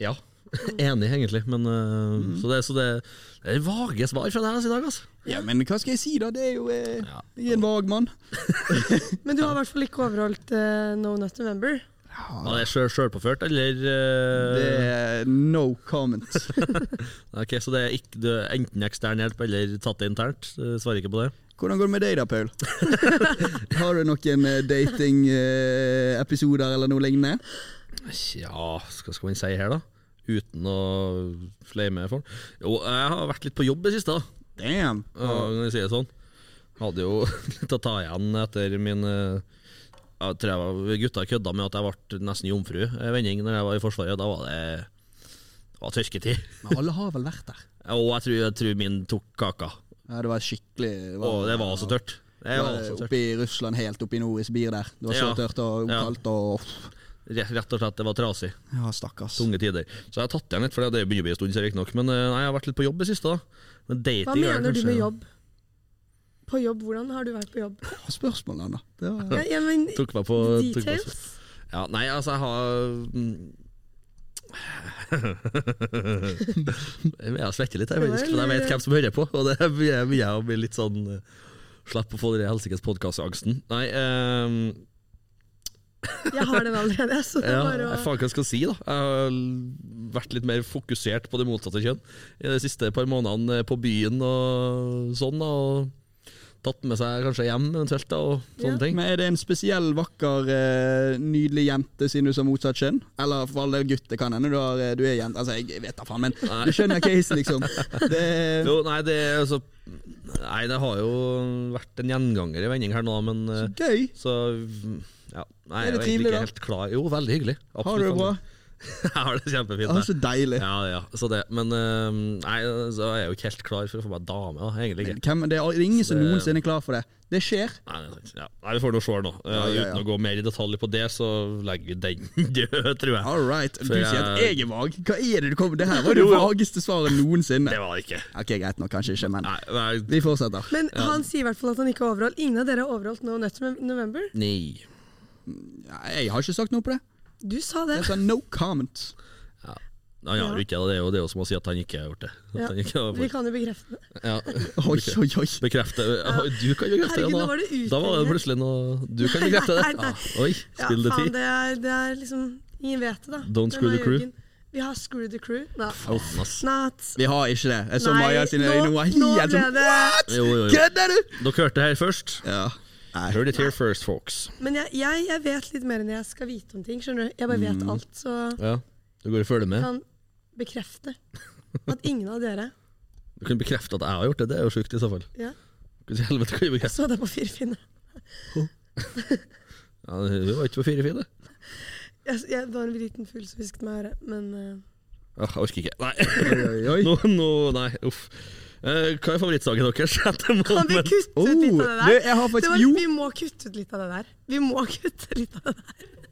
Speaker 1: Ja. Enig, egentlig. Men, eh,
Speaker 2: Mhm.
Speaker 1: Så, det, så det, det er vage svar fra deg i dag, altså.
Speaker 2: Ja, men hva skal jeg si, da? Det er jo eh,
Speaker 1: Ja.
Speaker 2: jeg er en vag mann.
Speaker 3: Men du har i hvert fall ikke overholdt eh, No Not November.
Speaker 1: Ja, det er sjøl- sjølpåført, eller eh,
Speaker 2: Det er no comment.
Speaker 1: Ok, Så det er ikke, det er enten ekstern hjelp eller tatt det internt? Eh, Svarer ikke på det?
Speaker 2: Hvordan går det med deg da, Paul? Har du noen eh, datingepisoder eller noe lignende?
Speaker 1: Ja, hva skal man si her, da? Uten å flame folk. Jo, jeg har vært litt på jobb i det siste, da.
Speaker 2: Damn.
Speaker 1: Ja, Når jeg sier det sånn. Hadde jo litt å ta igjen etter min eh, Jeg tror jeg var gutta kødda med at jeg ble nesten jomfru eh, vending når jeg var i Forsvaret. Da var det, det var tørketid.
Speaker 2: Men alle har vel vært der?
Speaker 1: Og jeg tror, jeg tror min tok kaka.
Speaker 2: Ja, det var skikkelig
Speaker 1: Og det var altså tørt. Det
Speaker 2: Det
Speaker 1: var
Speaker 2: var
Speaker 1: altså tørt.
Speaker 2: Oppe i Russland, helt oppe i nord i Sibir der. Det var så
Speaker 1: Ja.
Speaker 2: tørt og
Speaker 1: Ja.
Speaker 2: kaldt og
Speaker 1: Rett rett og slett, det var trasig.
Speaker 2: Ja, stakkars.
Speaker 1: Tunge tider. Så jeg har tatt igjen litt, for det begynner å bli en stund, så riktignok. Men eh, nei, jeg har vært litt på jobb i det siste, da. Men dating
Speaker 3: Hva
Speaker 1: er
Speaker 3: mener du
Speaker 1: kanskje-
Speaker 3: med jobb? På jobb? Hvordan har du vært på jobb?
Speaker 2: Spørsmålene, da. Det var...
Speaker 3: Ja, ja, men
Speaker 1: Tok meg på tok meg på-
Speaker 3: details?
Speaker 1: Ja, nei, altså, jeg mm. har Jeg svetter litt her, faktisk, for jeg vet hvem som hører på. Og det begynner jeg å bli litt sånn Slipp å få den helsikes podkastangsten. Nei, ehm,
Speaker 3: Jeg har den allerede, så det er
Speaker 1: ja,
Speaker 3: bare
Speaker 1: jeg
Speaker 3: å
Speaker 1: faen hva jeg skal si, da. Jeg har vært litt mer fokusert på det motsatte kjønn i de siste par månedene eh, på byen og sånn. da, og Tatt med seg kanskje hjem eventuelt, da, og sånne
Speaker 3: Ja.
Speaker 1: ting.
Speaker 2: Men Er det en spesiell vakker, eh, nydelig jente siden du sa motsatt kjønn? Eller for alle gutter kan hende du, har, eh, du er jente. Altså, jeg vet da faen, men du skjønner casen, liksom. Det,
Speaker 1: Jo, nei, det, er altså, nei, det har jo vært en gjenganger i vending her nå, men eh,
Speaker 2: gøy.
Speaker 1: så ja, Nei,
Speaker 2: Er
Speaker 1: jeg
Speaker 2: det
Speaker 1: var
Speaker 2: trivelig,
Speaker 1: egentlig
Speaker 2: da?
Speaker 1: ikke helt klar. Jo, veldig hyggelig.
Speaker 2: Har du det bra?
Speaker 1: Jeg har det kjempefint.
Speaker 2: Ah,
Speaker 1: jeg.
Speaker 2: så deilig.
Speaker 1: Ja, ja, så det. Men eh, nei, så er jeg jo ikke helt klar for å få meg dame, da, egentlig ikke.
Speaker 2: Hvem, det er ingen som noensinne er klar for det. Det skjer.
Speaker 1: Nei, det er sant. ja. nei, vi får nå se nå. Eh,
Speaker 2: Ja, ja, ja.
Speaker 1: Uten å gå mer i detalj på det, så legger vi den død, tror jeg.
Speaker 2: All right. Du
Speaker 1: For
Speaker 2: sier at
Speaker 1: jeg-
Speaker 2: jeg er vag. Hva er det du kommer Det her var det
Speaker 1: Jo, ja.
Speaker 2: vageste svaret noensinne.
Speaker 1: Det var det ikke.
Speaker 2: Ok, greit nok, kanskje ikke, men
Speaker 1: Nei, nei.
Speaker 2: vi fortsetter.
Speaker 3: Men han sier i hvert fall at han ikke har overholdt. Ingen av dere har overholdt No Nuts November.
Speaker 1: nei.
Speaker 2: Ja, Jeg har ikke sagt noe på det.
Speaker 3: Du sa det.
Speaker 2: Jeg sa no comment.
Speaker 1: Han
Speaker 3: Ja.
Speaker 1: har jo ikke det. Det er jo det er jo som å si at han ikke har gjort det. At
Speaker 3: Ja.
Speaker 1: han ikke har
Speaker 3: Vi
Speaker 1: fått-
Speaker 3: kan jo bekrefte det.
Speaker 1: ja.
Speaker 2: Oi, oi, oi.
Speaker 1: Bekrefte Oi, Du kan jo bekrefte
Speaker 3: Herregud,
Speaker 1: det,
Speaker 3: nå var det
Speaker 1: da. Da var det
Speaker 3: utlegget.
Speaker 1: plutselig noe Du kan bekrefte det.
Speaker 3: Nei, nei.
Speaker 1: Ah, oi,
Speaker 3: Ja,
Speaker 1: spill det
Speaker 3: faen,
Speaker 1: tid.
Speaker 3: det er, det er liksom Ingen vet det, da.
Speaker 1: Don't
Speaker 3: Det er
Speaker 1: screw the
Speaker 3: meg og
Speaker 1: crew.
Speaker 3: Jørgen. Vi har Screw the Crew. Nei.
Speaker 1: Faen, ass.
Speaker 3: Not.
Speaker 2: Vi har ikke det. Jeg så
Speaker 3: Nei,
Speaker 2: Maja sine
Speaker 3: nå-
Speaker 2: øyne, hun var
Speaker 3: nå
Speaker 2: helt sånn
Speaker 3: ble det-
Speaker 2: What?!
Speaker 1: Jo, jo, jo.
Speaker 2: Kødder du?!
Speaker 1: Dere hørte det her først.
Speaker 2: Ja. Nei.
Speaker 1: Heard it here first, folks.
Speaker 3: Men jeg, jeg, jeg vet litt mer enn jeg skal vite om ting. skjønner du? Jeg bare vet alt, så
Speaker 1: Mm. Ja. Du går og følger med.
Speaker 3: kan bekrefte at ingen av dere
Speaker 1: Du kan bekrefte at jeg har gjort det. Det er jo sjukt, i så fall.
Speaker 3: ja,
Speaker 1: Hvordan i helvete kan du bekrefte
Speaker 3: så det på firfinne.
Speaker 1: ja, Du var ikke på fire fine.
Speaker 3: Jeg, jeg var en liten fugl som hvisket meg i øret, men eh,
Speaker 1: Ah, jeg orker ikke. Nei.
Speaker 2: Oi, oi, oi.
Speaker 1: Nå, nå, nei, uff. Eh, hva er favorittsaken deres? Etter
Speaker 3: Kan vi
Speaker 1: måneden?
Speaker 3: kutte
Speaker 2: Oh,
Speaker 3: ut litt av det
Speaker 2: det,
Speaker 3: der?
Speaker 2: jeg har
Speaker 3: Det
Speaker 2: faktisk,
Speaker 3: var,
Speaker 2: jo,
Speaker 3: vi må kutte ut litt av det der. Vi må kutte litt av det der.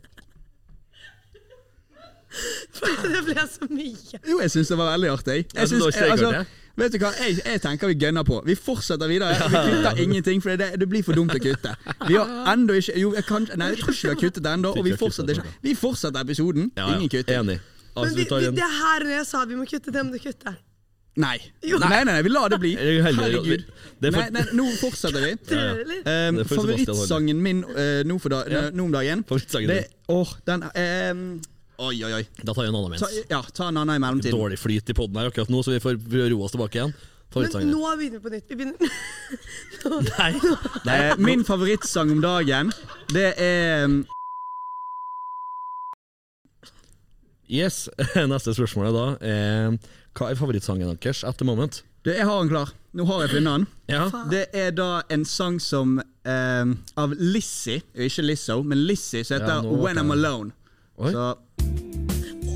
Speaker 3: For det ble så mye.
Speaker 2: jo, jeg syns det var veldig artig.
Speaker 1: Ja,
Speaker 2: Jeg synes, altså,
Speaker 1: da ser jeg godt, ja.
Speaker 2: vet du hva, jeg, jeg tenker vi gønner på. Vi fortsetter videre. Vi kutter ingenting, for det, det blir for dumt å kutte. Vi har enda ikke Jo, jeg kan, nei, jeg tror ikke vi har kuttet det ennå, og vi fortsetter ikke. Vi fortsetter episoden.
Speaker 1: Ja, ja.
Speaker 2: Ingen kutting.
Speaker 1: Enig.
Speaker 3: Men
Speaker 1: Altså,
Speaker 3: vi,
Speaker 1: vi tar
Speaker 3: vi,
Speaker 1: en
Speaker 3: det her når jeg sa vi må kutte, det må du kutte.
Speaker 2: Nei.
Speaker 3: Jo.
Speaker 2: Nei, nei, nei, vi lar det bli.
Speaker 1: Eller heller-
Speaker 2: Herregud.
Speaker 1: Det er for-
Speaker 2: Nei, nei, nå fortsetter vi.
Speaker 3: Tror
Speaker 1: Ja, ja.
Speaker 3: du, eller?
Speaker 2: Um,
Speaker 1: Det er for Sebastian
Speaker 2: favorittsangen min eh, nå, for da,
Speaker 1: Ja.
Speaker 2: nå om dagen
Speaker 1: favorittsaken
Speaker 2: det,
Speaker 1: din.
Speaker 2: åh, den ehm, Oi, oi, oi.
Speaker 1: Da tar jeg en annen
Speaker 2: Ta,
Speaker 1: mens.
Speaker 2: ja, ta en annen i mellomtiden.
Speaker 1: Dårlig flyt i poden her akkurat nå, så vi får roe oss tilbake igjen.
Speaker 3: Men
Speaker 1: Favorittsangen.
Speaker 3: nå begynner vi på nytt. Vi begynner
Speaker 1: Nei. Nei.
Speaker 2: Eh, min favorittsang om dagen, det er um,
Speaker 1: Yes, Neste spørsmål er da eh, Hva er favorittsangen deres at the moment?
Speaker 2: det, Jeg har den klar. Nå har jeg funnet den.
Speaker 1: Ja.
Speaker 3: Faen.
Speaker 2: Det er da en sang som um, Av Lizzie, og ikke Lizzo, men Lizzie, som heter
Speaker 1: Ja, nå ble
Speaker 2: When
Speaker 1: det-
Speaker 2: I'm Alone.
Speaker 1: Oi.
Speaker 2: Så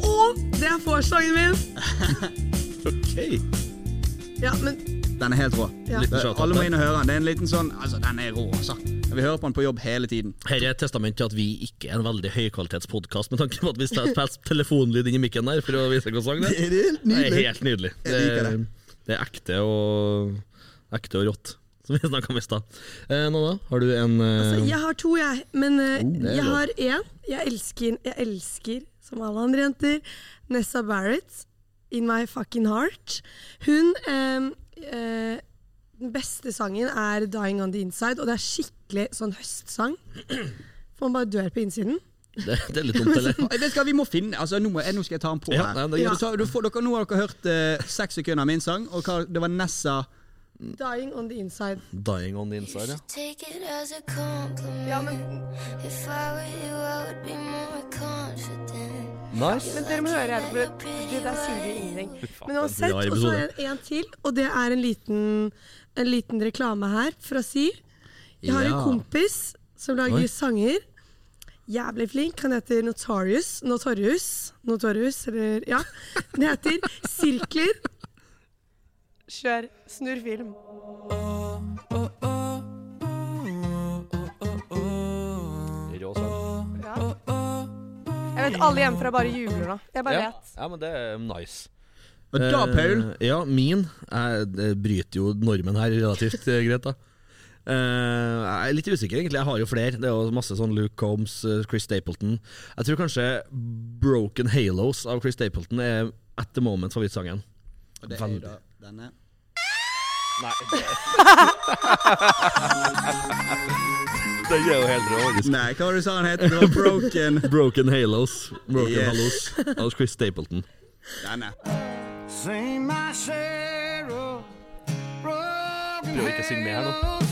Speaker 3: Å, det er vorsangen min!
Speaker 1: Okay.
Speaker 3: Ja, men
Speaker 2: den er helt rå.
Speaker 3: ja.
Speaker 1: Litt-
Speaker 2: Det,
Speaker 1: Shout out
Speaker 2: alle må
Speaker 1: der.
Speaker 2: inn og høre den. Det er en liten sånn Altså, den er rå, altså. Vi hører på den på jobb hele tiden.
Speaker 1: Her er et testament til at vi ikke er en veldig høykvalitetspodkast, med tanke på at vi setter telefonlyd inn i mikken der for å vise hvilken sang det er.
Speaker 2: Det er
Speaker 1: Det
Speaker 2: helt
Speaker 1: er
Speaker 2: nydelig.
Speaker 1: helt nydelig. Det,
Speaker 2: Jeg liker
Speaker 1: er- det er ekte og, ekte og rått, som vi snakka om i stad. Eh, Nanna, har du en eh,
Speaker 3: Så jeg har to, jeg. Men eh,
Speaker 1: Oh, det er
Speaker 3: jeg
Speaker 1: lov.
Speaker 3: har én. Jeg elsker, jeg elsker, som alle andre jenter, Nessa Barrett. In my fucking heart. Hun eh, eh, Den beste sangen er 'Dying on the Inside', og det er skikkelig sånn høstsang. For man bare dør på innsiden.
Speaker 1: det, det er litt dumt, eller?
Speaker 2: Nei, Vet du hva, vi må finne altså, nå, må, jeg- nå skal jeg ta den på
Speaker 1: Ja,
Speaker 2: her.
Speaker 1: nei, det er
Speaker 3: Ja.
Speaker 1: greit.
Speaker 2: Så, du får, dere, nå har dere hørt eh, seks sekunder av min sang, og hva, det var Nessa
Speaker 3: 'Dying on the Inside'.
Speaker 1: Dying on the inside, ja.
Speaker 4: Take it as a compliment.
Speaker 3: Ja, men,
Speaker 4: If I were you, I would be more confident.
Speaker 1: Nice.
Speaker 3: men dere må høre her, for det, det der sier vi ingenting. Men uansett,
Speaker 1: det er en
Speaker 3: og så
Speaker 1: episode.
Speaker 3: er det en til, og det er en liten, en liten reklame her fra Si. Jeg har
Speaker 1: Ja.
Speaker 3: en kompis som lager
Speaker 1: Oi.
Speaker 3: sanger. Jævlig flink. Han heter Notorious. Notorious, Notorious eller Ja. Det heter Sirkler. Kjør. Snurr film.
Speaker 1: Rå sang.
Speaker 3: Jeg vet alle hjemmefra bare jubler nå. Jeg bare
Speaker 1: Ja.
Speaker 3: vet.
Speaker 1: ja, men det er nice.
Speaker 2: Og da, Paul
Speaker 1: Eh, ja, min er, det bryter jo normen her relativt eh, greit, da. Eh, jeg er litt usikker, egentlig. Jeg har jo flere. Det er jo masse sånn Luke Combs, eh, Chris Stapleton. Jeg tror kanskje 'Broken Halos' av Chris Stapleton er at the moment favorittsangen.
Speaker 2: Og det er jo da denne.
Speaker 1: Den er jo helt rå. faktisk.
Speaker 2: Nei, hva var det du sa han het? Det var Broken.
Speaker 1: Broken Halos. Broken
Speaker 2: Yes.
Speaker 1: Halos. Av Chris Stapleton.
Speaker 2: Denne.
Speaker 5: Sing my share of broken
Speaker 6: Prøver ikke å synge med her nå.
Speaker 5: halos.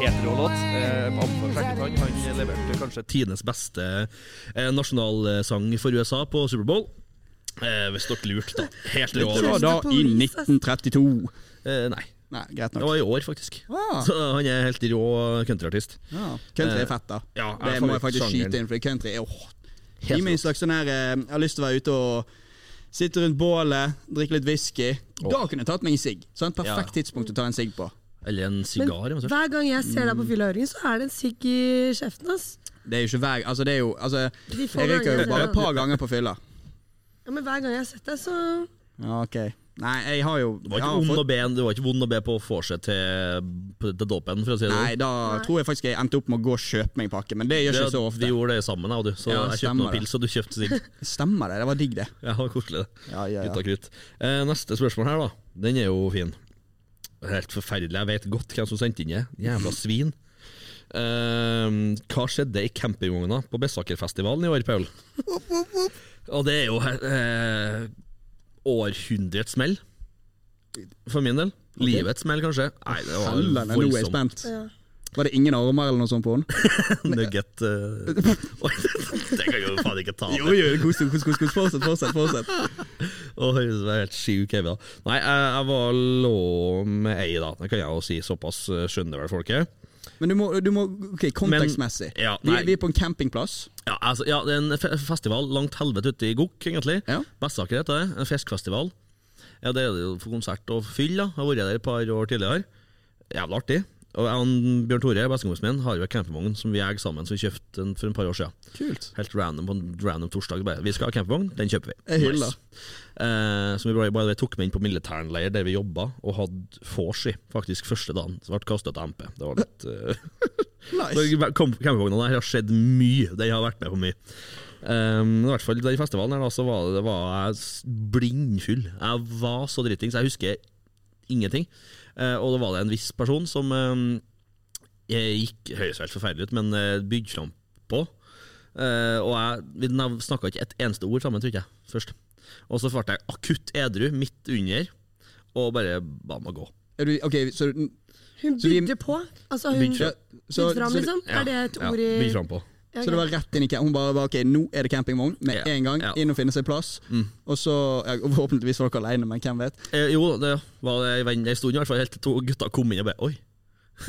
Speaker 6: Helt rå låt. Eh, Anton Klekketann han leverte kanskje
Speaker 1: Tidenes beste eh, nasjonalsang for USA på Superbowl. Eh, hvis dere lurte, da. Helt rå.
Speaker 2: Det var da i 1932.
Speaker 1: Eh, nei.
Speaker 2: Nei, greit
Speaker 1: Det
Speaker 2: nok.
Speaker 1: var i år, faktisk.
Speaker 2: Ah.
Speaker 1: Så han er helt rå countryartist.
Speaker 2: Ja, country er fett, da.
Speaker 1: Eh, ja,
Speaker 2: det
Speaker 1: jeg
Speaker 2: må jeg faktisk
Speaker 1: favorittsjangeren.
Speaker 2: skyte inn, for country er åh,
Speaker 1: Helt
Speaker 2: Gi meg en slags sånn her eh, Jeg har lyst til å være ute og sitte rundt bålet, drikke litt whisky. Da kunne jeg tatt meg en sigg. Sånn perfekt tidspunkt å ta en sigg på.
Speaker 1: Eller en
Speaker 3: Men
Speaker 1: sigar. eventuelt.
Speaker 3: hver gang jeg ser
Speaker 1: Mm.
Speaker 3: deg på fyllehøringen, så er det en sigg i kjeften. ass.
Speaker 2: Det er jo ikke hver Altså, det er jo altså,
Speaker 3: De få
Speaker 2: Jeg røyker jo
Speaker 3: gangene-
Speaker 2: bare et par ganger på fylla.
Speaker 3: Ja, men hver gang jeg har sett deg, så
Speaker 2: Ja, ok. Nei, jeg har jo
Speaker 1: Det var
Speaker 2: jeg
Speaker 1: ikke
Speaker 2: har
Speaker 1: vond
Speaker 2: fått-
Speaker 1: å be, det var ikke vond å be på å få seg til, til dåpen, for å si det sånn.
Speaker 2: Nei, da tror jeg faktisk jeg endte opp med å gå og kjøpe meg en pakke, men det gjør ikke
Speaker 1: Det-
Speaker 2: så ofte.
Speaker 1: Vi gjorde det sammen, jeg og du. Så
Speaker 2: Ja,
Speaker 1: jeg kjøpte
Speaker 2: stemmer
Speaker 1: noen
Speaker 2: det.
Speaker 1: pils, og du kjøpte sigg.
Speaker 2: Stemmer det, det var digg det.
Speaker 1: Ja, det var koselig, det.
Speaker 2: Ja, ja,
Speaker 1: Gutta
Speaker 2: ja.
Speaker 1: krutt. Eh, neste spørsmål her, da. Den er jo fin. Helt forferdelig. Jeg vet godt hvem som sendte inn det. Jævla svin. Eh, hva skjedde i campingvogna på Bessakerfestivalen i år, Paul? Og det er jo eh, århundrets smell. For min del. Livets smell, kanskje. Nei, det var
Speaker 2: Helvete, nå er jeg
Speaker 1: voldsomt.
Speaker 2: spent. Var det ingen armer eller noe sånt på henne?
Speaker 1: Nugget eh. Oi, Det kan jo faen ikke ta.
Speaker 2: Jo, jo, kos deg, kos, kos, kos. Fortsett, fortsett. fortsett.
Speaker 1: Å, høres ut som jeg er helt sjuk i hodet. Nei, jeg, jeg var lå med ei, da. Det kan jeg jo si. Såpass eh, skjønner vel folket.
Speaker 2: Men du må, du må ok, kontekstmessig.
Speaker 1: Men- ja,
Speaker 2: vi,
Speaker 1: nei.
Speaker 2: vi er på en campingplass.
Speaker 1: Ja, altså, ja, det er en fe festival langt helvete ute i Gokk, egentlig.
Speaker 2: Ja.
Speaker 1: Bessaker heter det. En fiskefestival. Ja, det er det jo for konsert og fyll, da. Jeg har vært der et par år tidligere. Jævlig artig. Og jeg og Bjørn Tore, bestekompisen min, har jo en campingvogn som vi eier sammen, som vi kjøpte den for et par år siden.
Speaker 2: Kult.
Speaker 1: Helt random på en random torsdag. Bare. Vi skal ha campingvogn, den kjøper vi.
Speaker 2: Jeg hyller.
Speaker 1: Eh, som vi bare, bare tok med inn på militærleir der vi jobba, og hadde vors i, faktisk, første dagen. Så ble kastet til MP. Det var litt eh,
Speaker 2: Nice.
Speaker 1: så kom- Campingvogna der har skjedd mye. Den har vært med på mye. Um, I hvert fall den festivalen her da, så var, det, var jeg s- blindfull. Jeg var så dritings. Jeg husker ingenting. Eh, og da var det en viss person som um, jeg gikk høres helt forferdelig ut, men uh, bygde fram på. Eh, og jeg, vi snakka ikke et eneste ord sammen, tror jeg, først. Og så ble jeg akutt edru midt under, og bare ba meg gå.
Speaker 2: Er du, ok, så,
Speaker 3: Hun
Speaker 2: Så vi-
Speaker 3: bygde på. Altså, hun
Speaker 1: Bygde
Speaker 2: ja,
Speaker 3: bygde
Speaker 2: så,
Speaker 3: fram,
Speaker 2: så,
Speaker 3: liksom. Er det et ord i
Speaker 1: Ja, bygde fram på.
Speaker 3: Ja,
Speaker 2: så det var
Speaker 3: greit.
Speaker 2: rett inn i camp. Hun bare var, ok, nå er det campingvogn med
Speaker 1: Ja,
Speaker 2: en gang.
Speaker 1: ja. Mm.
Speaker 2: Inn og finne seg plass. Og så, ja, Forhåpentligvis var dere alene, men hvem vet.
Speaker 1: Eh, jo, det var det en venn en stund, i hvert fall helt til to gutta kom inn og bare Oi.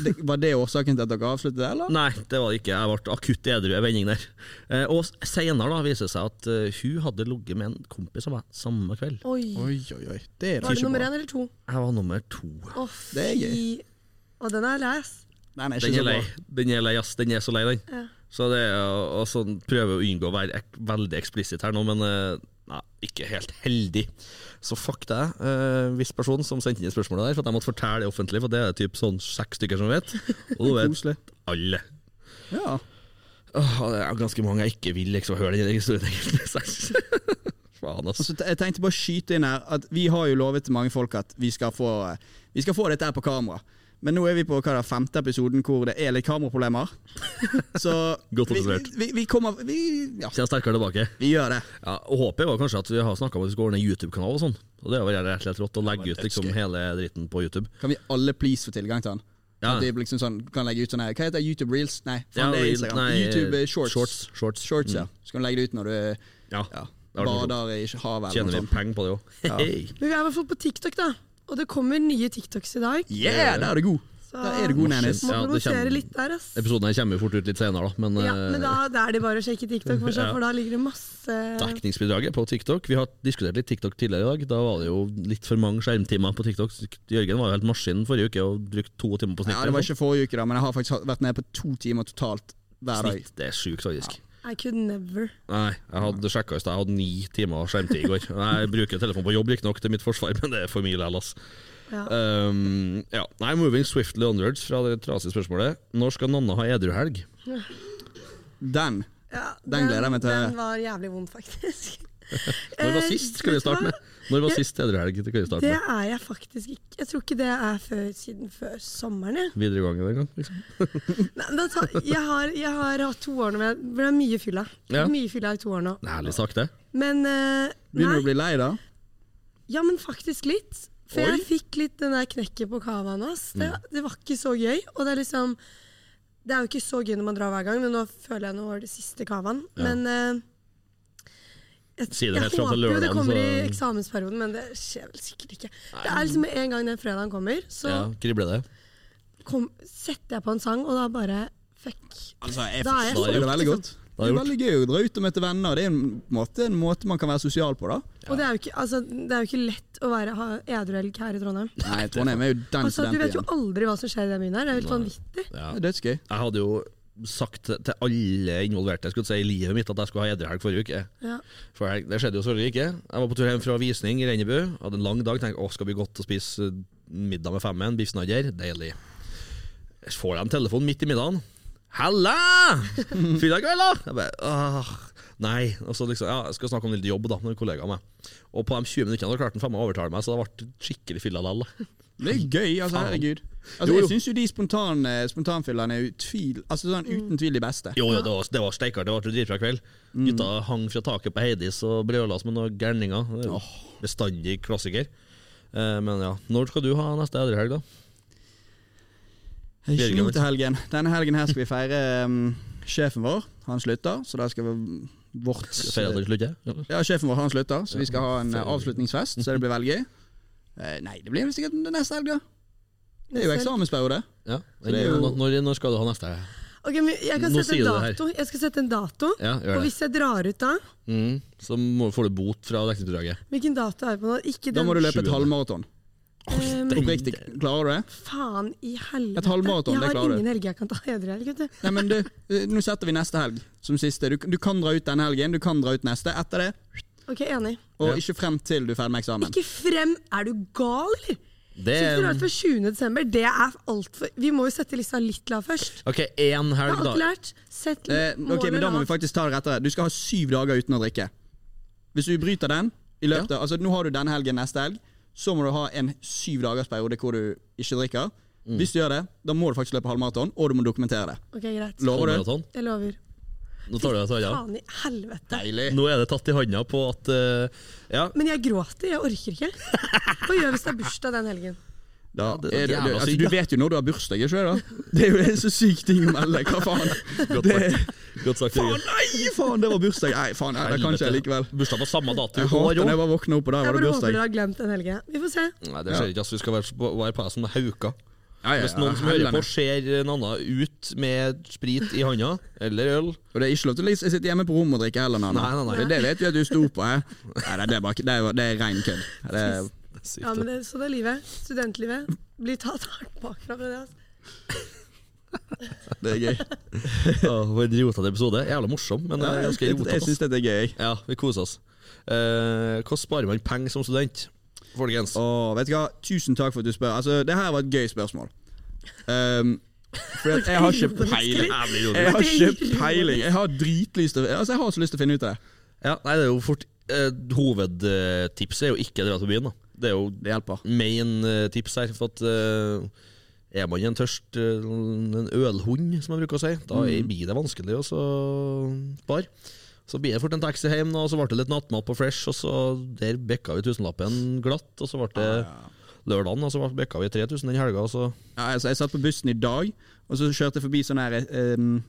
Speaker 2: Det, var det årsaken til at dere avsluttet det, eller?
Speaker 1: Nei, det var det ikke. Jeg ble akutt edru i vending der. Eh, og senere da viser det seg at eh, hun hadde ligget med en kompis av meg samme kveld.
Speaker 3: Oi.
Speaker 2: Oi, oi, oi. Det er da
Speaker 3: Var det
Speaker 2: ikke
Speaker 3: nummer
Speaker 2: bra.
Speaker 3: én eller to?
Speaker 1: Jeg var nummer to.
Speaker 3: Å,
Speaker 2: Det er gøy.
Speaker 3: fy. Og den er læs.
Speaker 2: Nei, nei,
Speaker 1: Den
Speaker 2: ikke
Speaker 1: er
Speaker 2: så
Speaker 1: lei.
Speaker 2: bra.
Speaker 1: Den er lei, ass. Den er så lei, den.
Speaker 3: Ja.
Speaker 1: Så det er, og sånn prøver jeg å unngå å være ek veldig eksplisitt her nå, men eh, nei, ikke helt heldig. Så fuck deg, eh, viss person som sendte inn spørsmålet der, for at jeg måtte fortelle det offentlig, for det er typ sånn seks stykker som vet. Og du
Speaker 2: Koselig.
Speaker 1: vet alle.
Speaker 2: Ja.
Speaker 1: Åh, det er ganske mange jeg ikke vil liksom høre den historien, egentlig. Så jeg- Faen, ass.
Speaker 2: Så te- jeg tenkte bare å skyte inn her at vi har jo lovet til mange folk at vi skal få, vi skal få dette her på kamera. Men nå er vi på hva er det, femte episoden hvor det er litt kameraproblemer. Så
Speaker 1: Godt
Speaker 2: vi,
Speaker 1: observert.
Speaker 2: vi, vi kommer vi, Ja,
Speaker 1: Kjenner sterkere tilbake.
Speaker 2: vi gjør det.
Speaker 1: Ja, og Håpet var kanskje at vi har snakka om at vi skal ordne en YouTube-kanal og sånn. Og det er vel rett og slett rått å legge ut liksom hele dritten på YouTube.
Speaker 2: Kan vi alle please få tilgang til den?
Speaker 1: Ja.
Speaker 2: At vi liksom sånn, kan legge ut sånn her Hva heter det? YouTube Reels? Nei, faen,
Speaker 1: Ja,
Speaker 2: det er
Speaker 1: Reel-
Speaker 2: Instagram.
Speaker 1: nei,
Speaker 2: YouTube eh, Shorts.
Speaker 1: Shorts, shorts.
Speaker 2: Shorts, ja. Så kan du legge det ut når du
Speaker 1: Ja.
Speaker 2: ja,
Speaker 1: Det har vært morsomt.
Speaker 2: bader i havet eller
Speaker 1: Tjener
Speaker 2: noe
Speaker 1: vi
Speaker 2: sånt.
Speaker 1: penger på det òg? Hei.
Speaker 3: Men vi er i hvert fall på TikTok, da. Og det kommer nye TikToks i dag.
Speaker 2: Yeah, der er du god!
Speaker 3: Så
Speaker 2: Der er du god, Nennis.
Speaker 1: Ja,
Speaker 3: må
Speaker 1: det
Speaker 3: promotere
Speaker 1: kommer-
Speaker 3: litt der, ass.
Speaker 1: Episoden her kommer jo fort ut litt senere, da. Men,
Speaker 3: Ja, men da,
Speaker 1: eh,
Speaker 3: da er det bare å sjekke TikTok for seg, for da ligger det masse
Speaker 1: dekningsbidraget på TikTok Vi har diskutert litt TikTok tidligere i dag. Da var det jo litt for mange skjermtimer på TikTok. Jørgen var jo helt maskin forrige uke og brukte to timer på snitt.
Speaker 2: Ja, det var ikke forrige uke, da, men jeg har faktisk vært nede på to timer totalt hver dag.
Speaker 1: Sånn snitt. Det er sjukt, faktisk.
Speaker 3: I could never.
Speaker 1: Nei, jeg hadde sjekka i stad. Jeg hadde ni timer skjermtid i går. Jeg bruker telefon på jobb, riktignok, til mitt forsvar, men det er for mye likevel, ass.
Speaker 3: Ja.
Speaker 1: Um, ja. Nei, moving swiftly onwards fra det trasige spørsmålet. Når skal Nanna ha edruhelg?
Speaker 2: Den
Speaker 3: Ja,
Speaker 2: Den gleder jeg meg til å høre.
Speaker 3: Den var jævlig vond, faktisk.
Speaker 1: Når var
Speaker 3: Eh,
Speaker 1: sist, skal vi
Speaker 3: vet du
Speaker 1: starte
Speaker 3: hva?
Speaker 1: med? Når var
Speaker 3: Ja.
Speaker 1: sist edruhelg? Det kan vi starte
Speaker 3: Det
Speaker 1: med.
Speaker 3: er jeg faktisk ikke. Jeg tror ikke det er før, siden før sommeren. Jeg,
Speaker 1: Videregående en gang, liksom.
Speaker 3: Nei, men da tar- jeg, har, jeg har hatt to år nå, men jeg ble mye fylla.
Speaker 1: Ja.
Speaker 3: Mye fylla i to år nå.
Speaker 1: Det er Ærlig sagt, det.
Speaker 3: Men eh,
Speaker 2: Begynner du
Speaker 3: nei,
Speaker 2: å bli lei, da?
Speaker 3: ja, men faktisk litt. For
Speaker 2: Oi.
Speaker 3: jeg fikk litt den der knekken på cavaen hans.
Speaker 1: Mm.
Speaker 3: Det, det var ikke så gøy. Og det er liksom Det er jo ikke så gøy når man drar hver gang, men nå føler jeg nå var det siste cavaen. Men eh, jeg,
Speaker 1: Si det
Speaker 3: jeg
Speaker 1: helt fram til
Speaker 3: håper jo det
Speaker 1: lørdagen,
Speaker 3: kommer i
Speaker 1: så-
Speaker 3: eksamensperioden, men det skjer vel sikkert ikke. Det er liksom med en gang den fredagen kommer, så
Speaker 1: Ja, Kribler det.
Speaker 3: kom, setter jeg på en sang, og da bare fuck.
Speaker 2: Altså, jeg
Speaker 3: Da er jeg
Speaker 2: forstår
Speaker 3: solgt,
Speaker 2: det veldig
Speaker 3: liksom.
Speaker 2: godt. Det er veldig gøy å dra ut og møte venner. Det er en måte, en måte man kan være sosial på, da.
Speaker 3: Og det er, jo ikke, altså, det er jo ikke lett å være ha edruelg her i Trondheim.
Speaker 2: Nei, Trondheim er jo den
Speaker 3: Altså, du vet jo
Speaker 2: studenten igjen.
Speaker 3: aldri hva som skjer i den byen her. Det er helt vanvittig.
Speaker 1: Ja.
Speaker 2: Det er dødsgøy.
Speaker 1: Jeg hadde jo sagt til alle involverte jeg skulle si, i livet mitt at jeg skulle ha edruhelg forrige uke.
Speaker 3: Ja.
Speaker 1: For jeg, Det skjedde jo selvfølgelig ikke. Jeg var på tur hjem fra visning i Rennebu. Hadde en lang dag. Tenkte å, skal bli godt å spise eh, middag med femmen. Biffsnadder. Deilig. Så får jeg en telefon midt i middagen. 'Halla! Fylla kvelda?' Jeg bare Åh, nei. Og så liksom, ja, jeg skal snakke om litt jobb da med en kollega av meg. Og på de 20 minuttene hadde klarte han faen meg å overtale meg, så det ble skikkelig fylla lall. da.
Speaker 2: Det er gøy, altså.
Speaker 1: Faen.
Speaker 2: Herregud.
Speaker 1: Jo,
Speaker 2: Altså,
Speaker 1: jo.
Speaker 2: jeg syns jo de spontane, spontanfyllerne er utvil, altså, sånn,
Speaker 3: Mm.
Speaker 2: uten tvil de beste.
Speaker 1: Jo, jo, det var, det var steikart. Det ble dritbra kveld.
Speaker 2: Mm.
Speaker 1: Gutta hang fra taket på Heidis og brøla som noen gærninger. Det er jo Bestandig klassiker. Eh, men ja, når skal du ha neste edruhelg, da?
Speaker 2: Ikke
Speaker 1: Birger,
Speaker 2: nå til helgen. Denne helgen her skal vi feire um, sjefen vår. Han slutter, så da skal vi vårt
Speaker 1: Feirer dere slutt, ja?
Speaker 2: Ja, sjefen vår han slutter, så vi skal ha en
Speaker 1: Ja,
Speaker 2: eh,
Speaker 1: feirer.
Speaker 2: avslutningsfest, så det blir veldig gøy. Eh, nei, det blir vel sikkert neste helg, da. Det er jo sånn. eksamensperiode.
Speaker 1: ja.
Speaker 2: det er jo-
Speaker 1: Når, når, når skal du ha neste?
Speaker 3: Ok, men jeg kan
Speaker 1: Nå
Speaker 3: sette
Speaker 1: sier
Speaker 3: en
Speaker 1: du det her.
Speaker 3: dato. Jeg skal sette en dato.
Speaker 1: Ja,
Speaker 3: Og
Speaker 1: gjør det.
Speaker 3: hvis jeg drar ut da
Speaker 1: Mm, så må, får du bot fra dekningsbidraget.
Speaker 3: Hvilken dato er det på nå? Ikke
Speaker 2: Da
Speaker 3: den
Speaker 2: må du løpe et
Speaker 1: Sjuende.
Speaker 2: halvmaraton.
Speaker 3: ehm,
Speaker 2: Oppriktig, klarer du det?
Speaker 3: Faen i helvete.
Speaker 2: Et halvmaraton,
Speaker 3: jeg
Speaker 2: det
Speaker 3: har
Speaker 2: klarer du.
Speaker 3: ingen helger jeg kan ta edruelg, vet du.
Speaker 2: Nei, men du, eh, Nå setter vi neste helg som siste. Du, du kan dra ut denne helgen, du kan dra ut neste. Etter det,
Speaker 3: Ok, enig.
Speaker 2: og ikke frem til du er ferdig med eksamen.
Speaker 3: Ikke frem! Er du gal, eller?
Speaker 1: Mm. Det
Speaker 3: Syns du det
Speaker 1: er
Speaker 3: er for 20. desember? Det er altfor Vi må jo sette lista litt lav først.
Speaker 1: OK, én
Speaker 3: Jeg har
Speaker 1: helg,
Speaker 3: alt
Speaker 1: da.
Speaker 3: lært. Sett
Speaker 2: Eh, ok, men Da må
Speaker 3: målet
Speaker 2: vi faktisk ta det rettere. Du skal ha syv dager uten å drikke. Hvis du bryter den i løpet av, altså Nå har du denne helgen neste helg. Så må du ha en syv dagers periode hvor du ikke drikker.
Speaker 1: Mm.
Speaker 2: Hvis du gjør det, da må du faktisk løpe halvmaraton, og du må dokumentere det.
Speaker 3: Ok, greit.
Speaker 2: Lover du?
Speaker 1: Halvmaraton.
Speaker 3: Jeg lover.
Speaker 1: sånn? Nå tar du deg til hånda.
Speaker 3: Faen i helvete.
Speaker 1: Nå er det tatt i handa på at eh, Ja,
Speaker 3: Men jeg gråter, jeg orker ikke. Hva gjør jeg hvis det er bursdag den helgen?
Speaker 2: Da,
Speaker 1: det er
Speaker 2: er, det-
Speaker 1: jævla
Speaker 2: altså,
Speaker 1: sykt,
Speaker 2: du
Speaker 1: da.
Speaker 2: vet jo når du har bursdag, ikke sant? da? Det er jo en så syk ting å melde. Hva faen?
Speaker 1: godt
Speaker 2: Det,
Speaker 1: sagt. Godt sagt
Speaker 2: faen,
Speaker 1: Jørgen.
Speaker 2: nei, faen, det var bursdag! Nei, faen, nei, det kan ikke jeg likevel.
Speaker 1: Bursdag på samme dato.
Speaker 2: Jeg
Speaker 1: i år
Speaker 2: hater
Speaker 1: også.
Speaker 2: når jeg bare våkner opp, og der
Speaker 3: Jeg
Speaker 2: var det
Speaker 3: bare håper
Speaker 2: bursdag.
Speaker 3: dere har glemt den helgen. Vi får se.
Speaker 1: Nei, det skjer ikke. Altså, vi skal være på- være på deg som hauka.
Speaker 2: Ja, ja,
Speaker 1: Hvis
Speaker 2: ja,
Speaker 1: noen som hører på
Speaker 2: helvete.
Speaker 1: ser en annen ut med sprit i handa, eller øl
Speaker 2: Og det er ikke lov til å liksom sitte hjemme på rommet og drikke heller, Nanna.
Speaker 1: Nei, nei, nei.
Speaker 2: Det, det vet vi at du sto på. hæ? Nei, nei, det er, bare, ikke- det er, det er rein kødd. Det er,
Speaker 3: Ja, men det, så det er livet. Studentlivet. Blir tatt hardt bakfra med det. Altså.
Speaker 2: det er gøy.
Speaker 1: Åh, for en rotete episode. Jævla morsom, men eh,
Speaker 2: Jeg,
Speaker 1: ganske
Speaker 2: jeg,
Speaker 1: rotete.
Speaker 2: syns
Speaker 1: ass.
Speaker 2: dette er gøy.
Speaker 1: Ja, vi koser oss. Eh, hvordan sparer man penger som student, folkens?
Speaker 2: Åh, vet du hva? Tusen takk for at du spør. Altså, det her var et gøy spørsmål. Um, for at jeg har ikke peiling.
Speaker 1: Jævlig
Speaker 2: Jeg
Speaker 1: ironisk.
Speaker 2: har ikke peiling. Jeg har dritlyst til Altså, jeg har så lyst til å finne ut av det.
Speaker 1: Ja, nei, det er jo fort eh, Hovedtipset er jo ikke dra til byen, da. Det er jo
Speaker 2: Det hjelper.
Speaker 1: main eh, tips her. For at eh, er man en tørst eh, En ølhund, som jeg bruker å si, da er-
Speaker 2: Mm.
Speaker 1: blir det vanskelig å så spare. Så blir det fort en taxi hjem, og så ble det litt nattmat på Fresh, og så der bikka vi tusenlappen glatt, og så ble det lørdagen, og så ble- bikka vi 3000 den helga, og så
Speaker 2: Ja, altså, jeg satt på bussen i dag, og så kjørte jeg forbi sånn her ehm,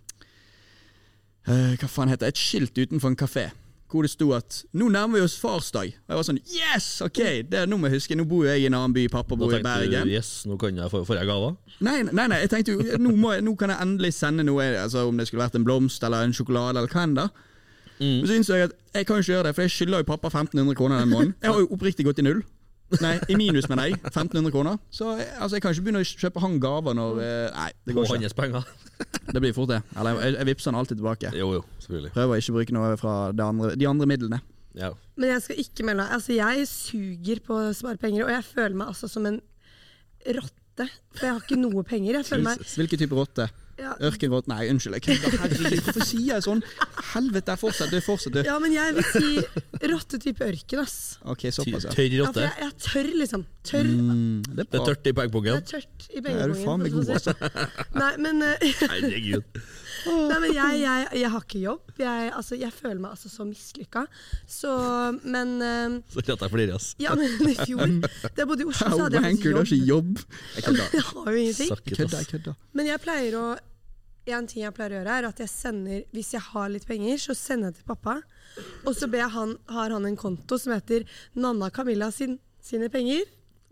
Speaker 2: eh, Hva faen heter det? Et skilt utenfor en kafé. Hvor det sto at 'nå nærmer vi oss farsdag'. Og jeg var sånn 'yes, ok, det er nå må jeg huske'. Nå bor jo jeg i en annen by, pappa
Speaker 1: da
Speaker 2: bor i
Speaker 1: tenkte
Speaker 2: Bergen.
Speaker 1: du yes, nå kan jeg få, får jeg gaver.
Speaker 2: Nei, nei, nei, jeg tenkte jo nå, må jeg, nå kan jeg endelig sende noe, altså om det skulle vært en blomst eller en sjokolade eller hva enn da. Men så innså jeg at jeg kan jo ikke gjøre det, for jeg skylder jo pappa 1500 kroner den måneden. Jeg har jo oppriktig gått i null. Nei, i minus, mener jeg. 1500 kroner. Så jeg, altså, jeg kan ikke begynne å kjøpe han gaver når eh, Nei, det
Speaker 1: Og
Speaker 2: går ikke.
Speaker 1: hans penger.
Speaker 2: Det blir fort det. Eller jeg, jeg vippser han alltid tilbake.
Speaker 1: Jo, jo, selvfølgelig.
Speaker 2: Prøver å ikke bruke noe fra det andre, de andre midlene.
Speaker 1: Ja.
Speaker 3: Men jeg skal ikke melde meg. Altså, jeg suger på å spare penger, og jeg føler meg altså som en rotte. For jeg har ikke noe penger. Jeg føler meg
Speaker 2: Hvilken type rotte?
Speaker 3: ja,
Speaker 2: Ørkenrotte? Nei, unnskyld, jeg kødder. Herregud, Hvorfor sier jeg sånn? Helvete, fortsett du, fortsett du.
Speaker 3: ja, men jeg vil si Rottetype ørken, ass.
Speaker 2: Ok,
Speaker 1: Ty-
Speaker 2: såpass, ja.
Speaker 1: Tørr
Speaker 3: Ja, for
Speaker 1: rotte.
Speaker 3: Altså, jeg, jeg tørr, liksom. Tørr.
Speaker 2: Mm, Altså. det er
Speaker 1: Det er
Speaker 2: bra.
Speaker 1: tørt i
Speaker 3: Det
Speaker 1: pengepungen.
Speaker 3: er tørt i
Speaker 2: Ja, er du faen meg
Speaker 3: pengekongen.
Speaker 2: god, altså.
Speaker 3: sånn. Nei, men, eh,
Speaker 1: Herregud.
Speaker 3: nei, men jeg, jeg, jeg har ikke jobb. Jeg, altså, jeg føler meg altså så mislykka. Så, men eh,
Speaker 1: Så klarte jeg å flire, ass.
Speaker 3: Ja, men i fjor, da jeg bodde i Oslo, så
Speaker 2: Au,
Speaker 3: hadde jeg
Speaker 2: Wanker, du har
Speaker 3: faktisk
Speaker 2: ikke
Speaker 3: jobb.
Speaker 2: jobb. Jeg kødder.
Speaker 3: Jeg har jo ingenting.
Speaker 1: Suck it,
Speaker 2: Kødder, jeg
Speaker 1: ass.
Speaker 2: kødder.
Speaker 3: Men jeg pleier å En ting jeg pleier å gjøre, er at jeg sender Hvis jeg har litt penger, så sender jeg til pappa. Og så ber jeg han, har han en konto som heter Nanna Camilla sin, sine penger.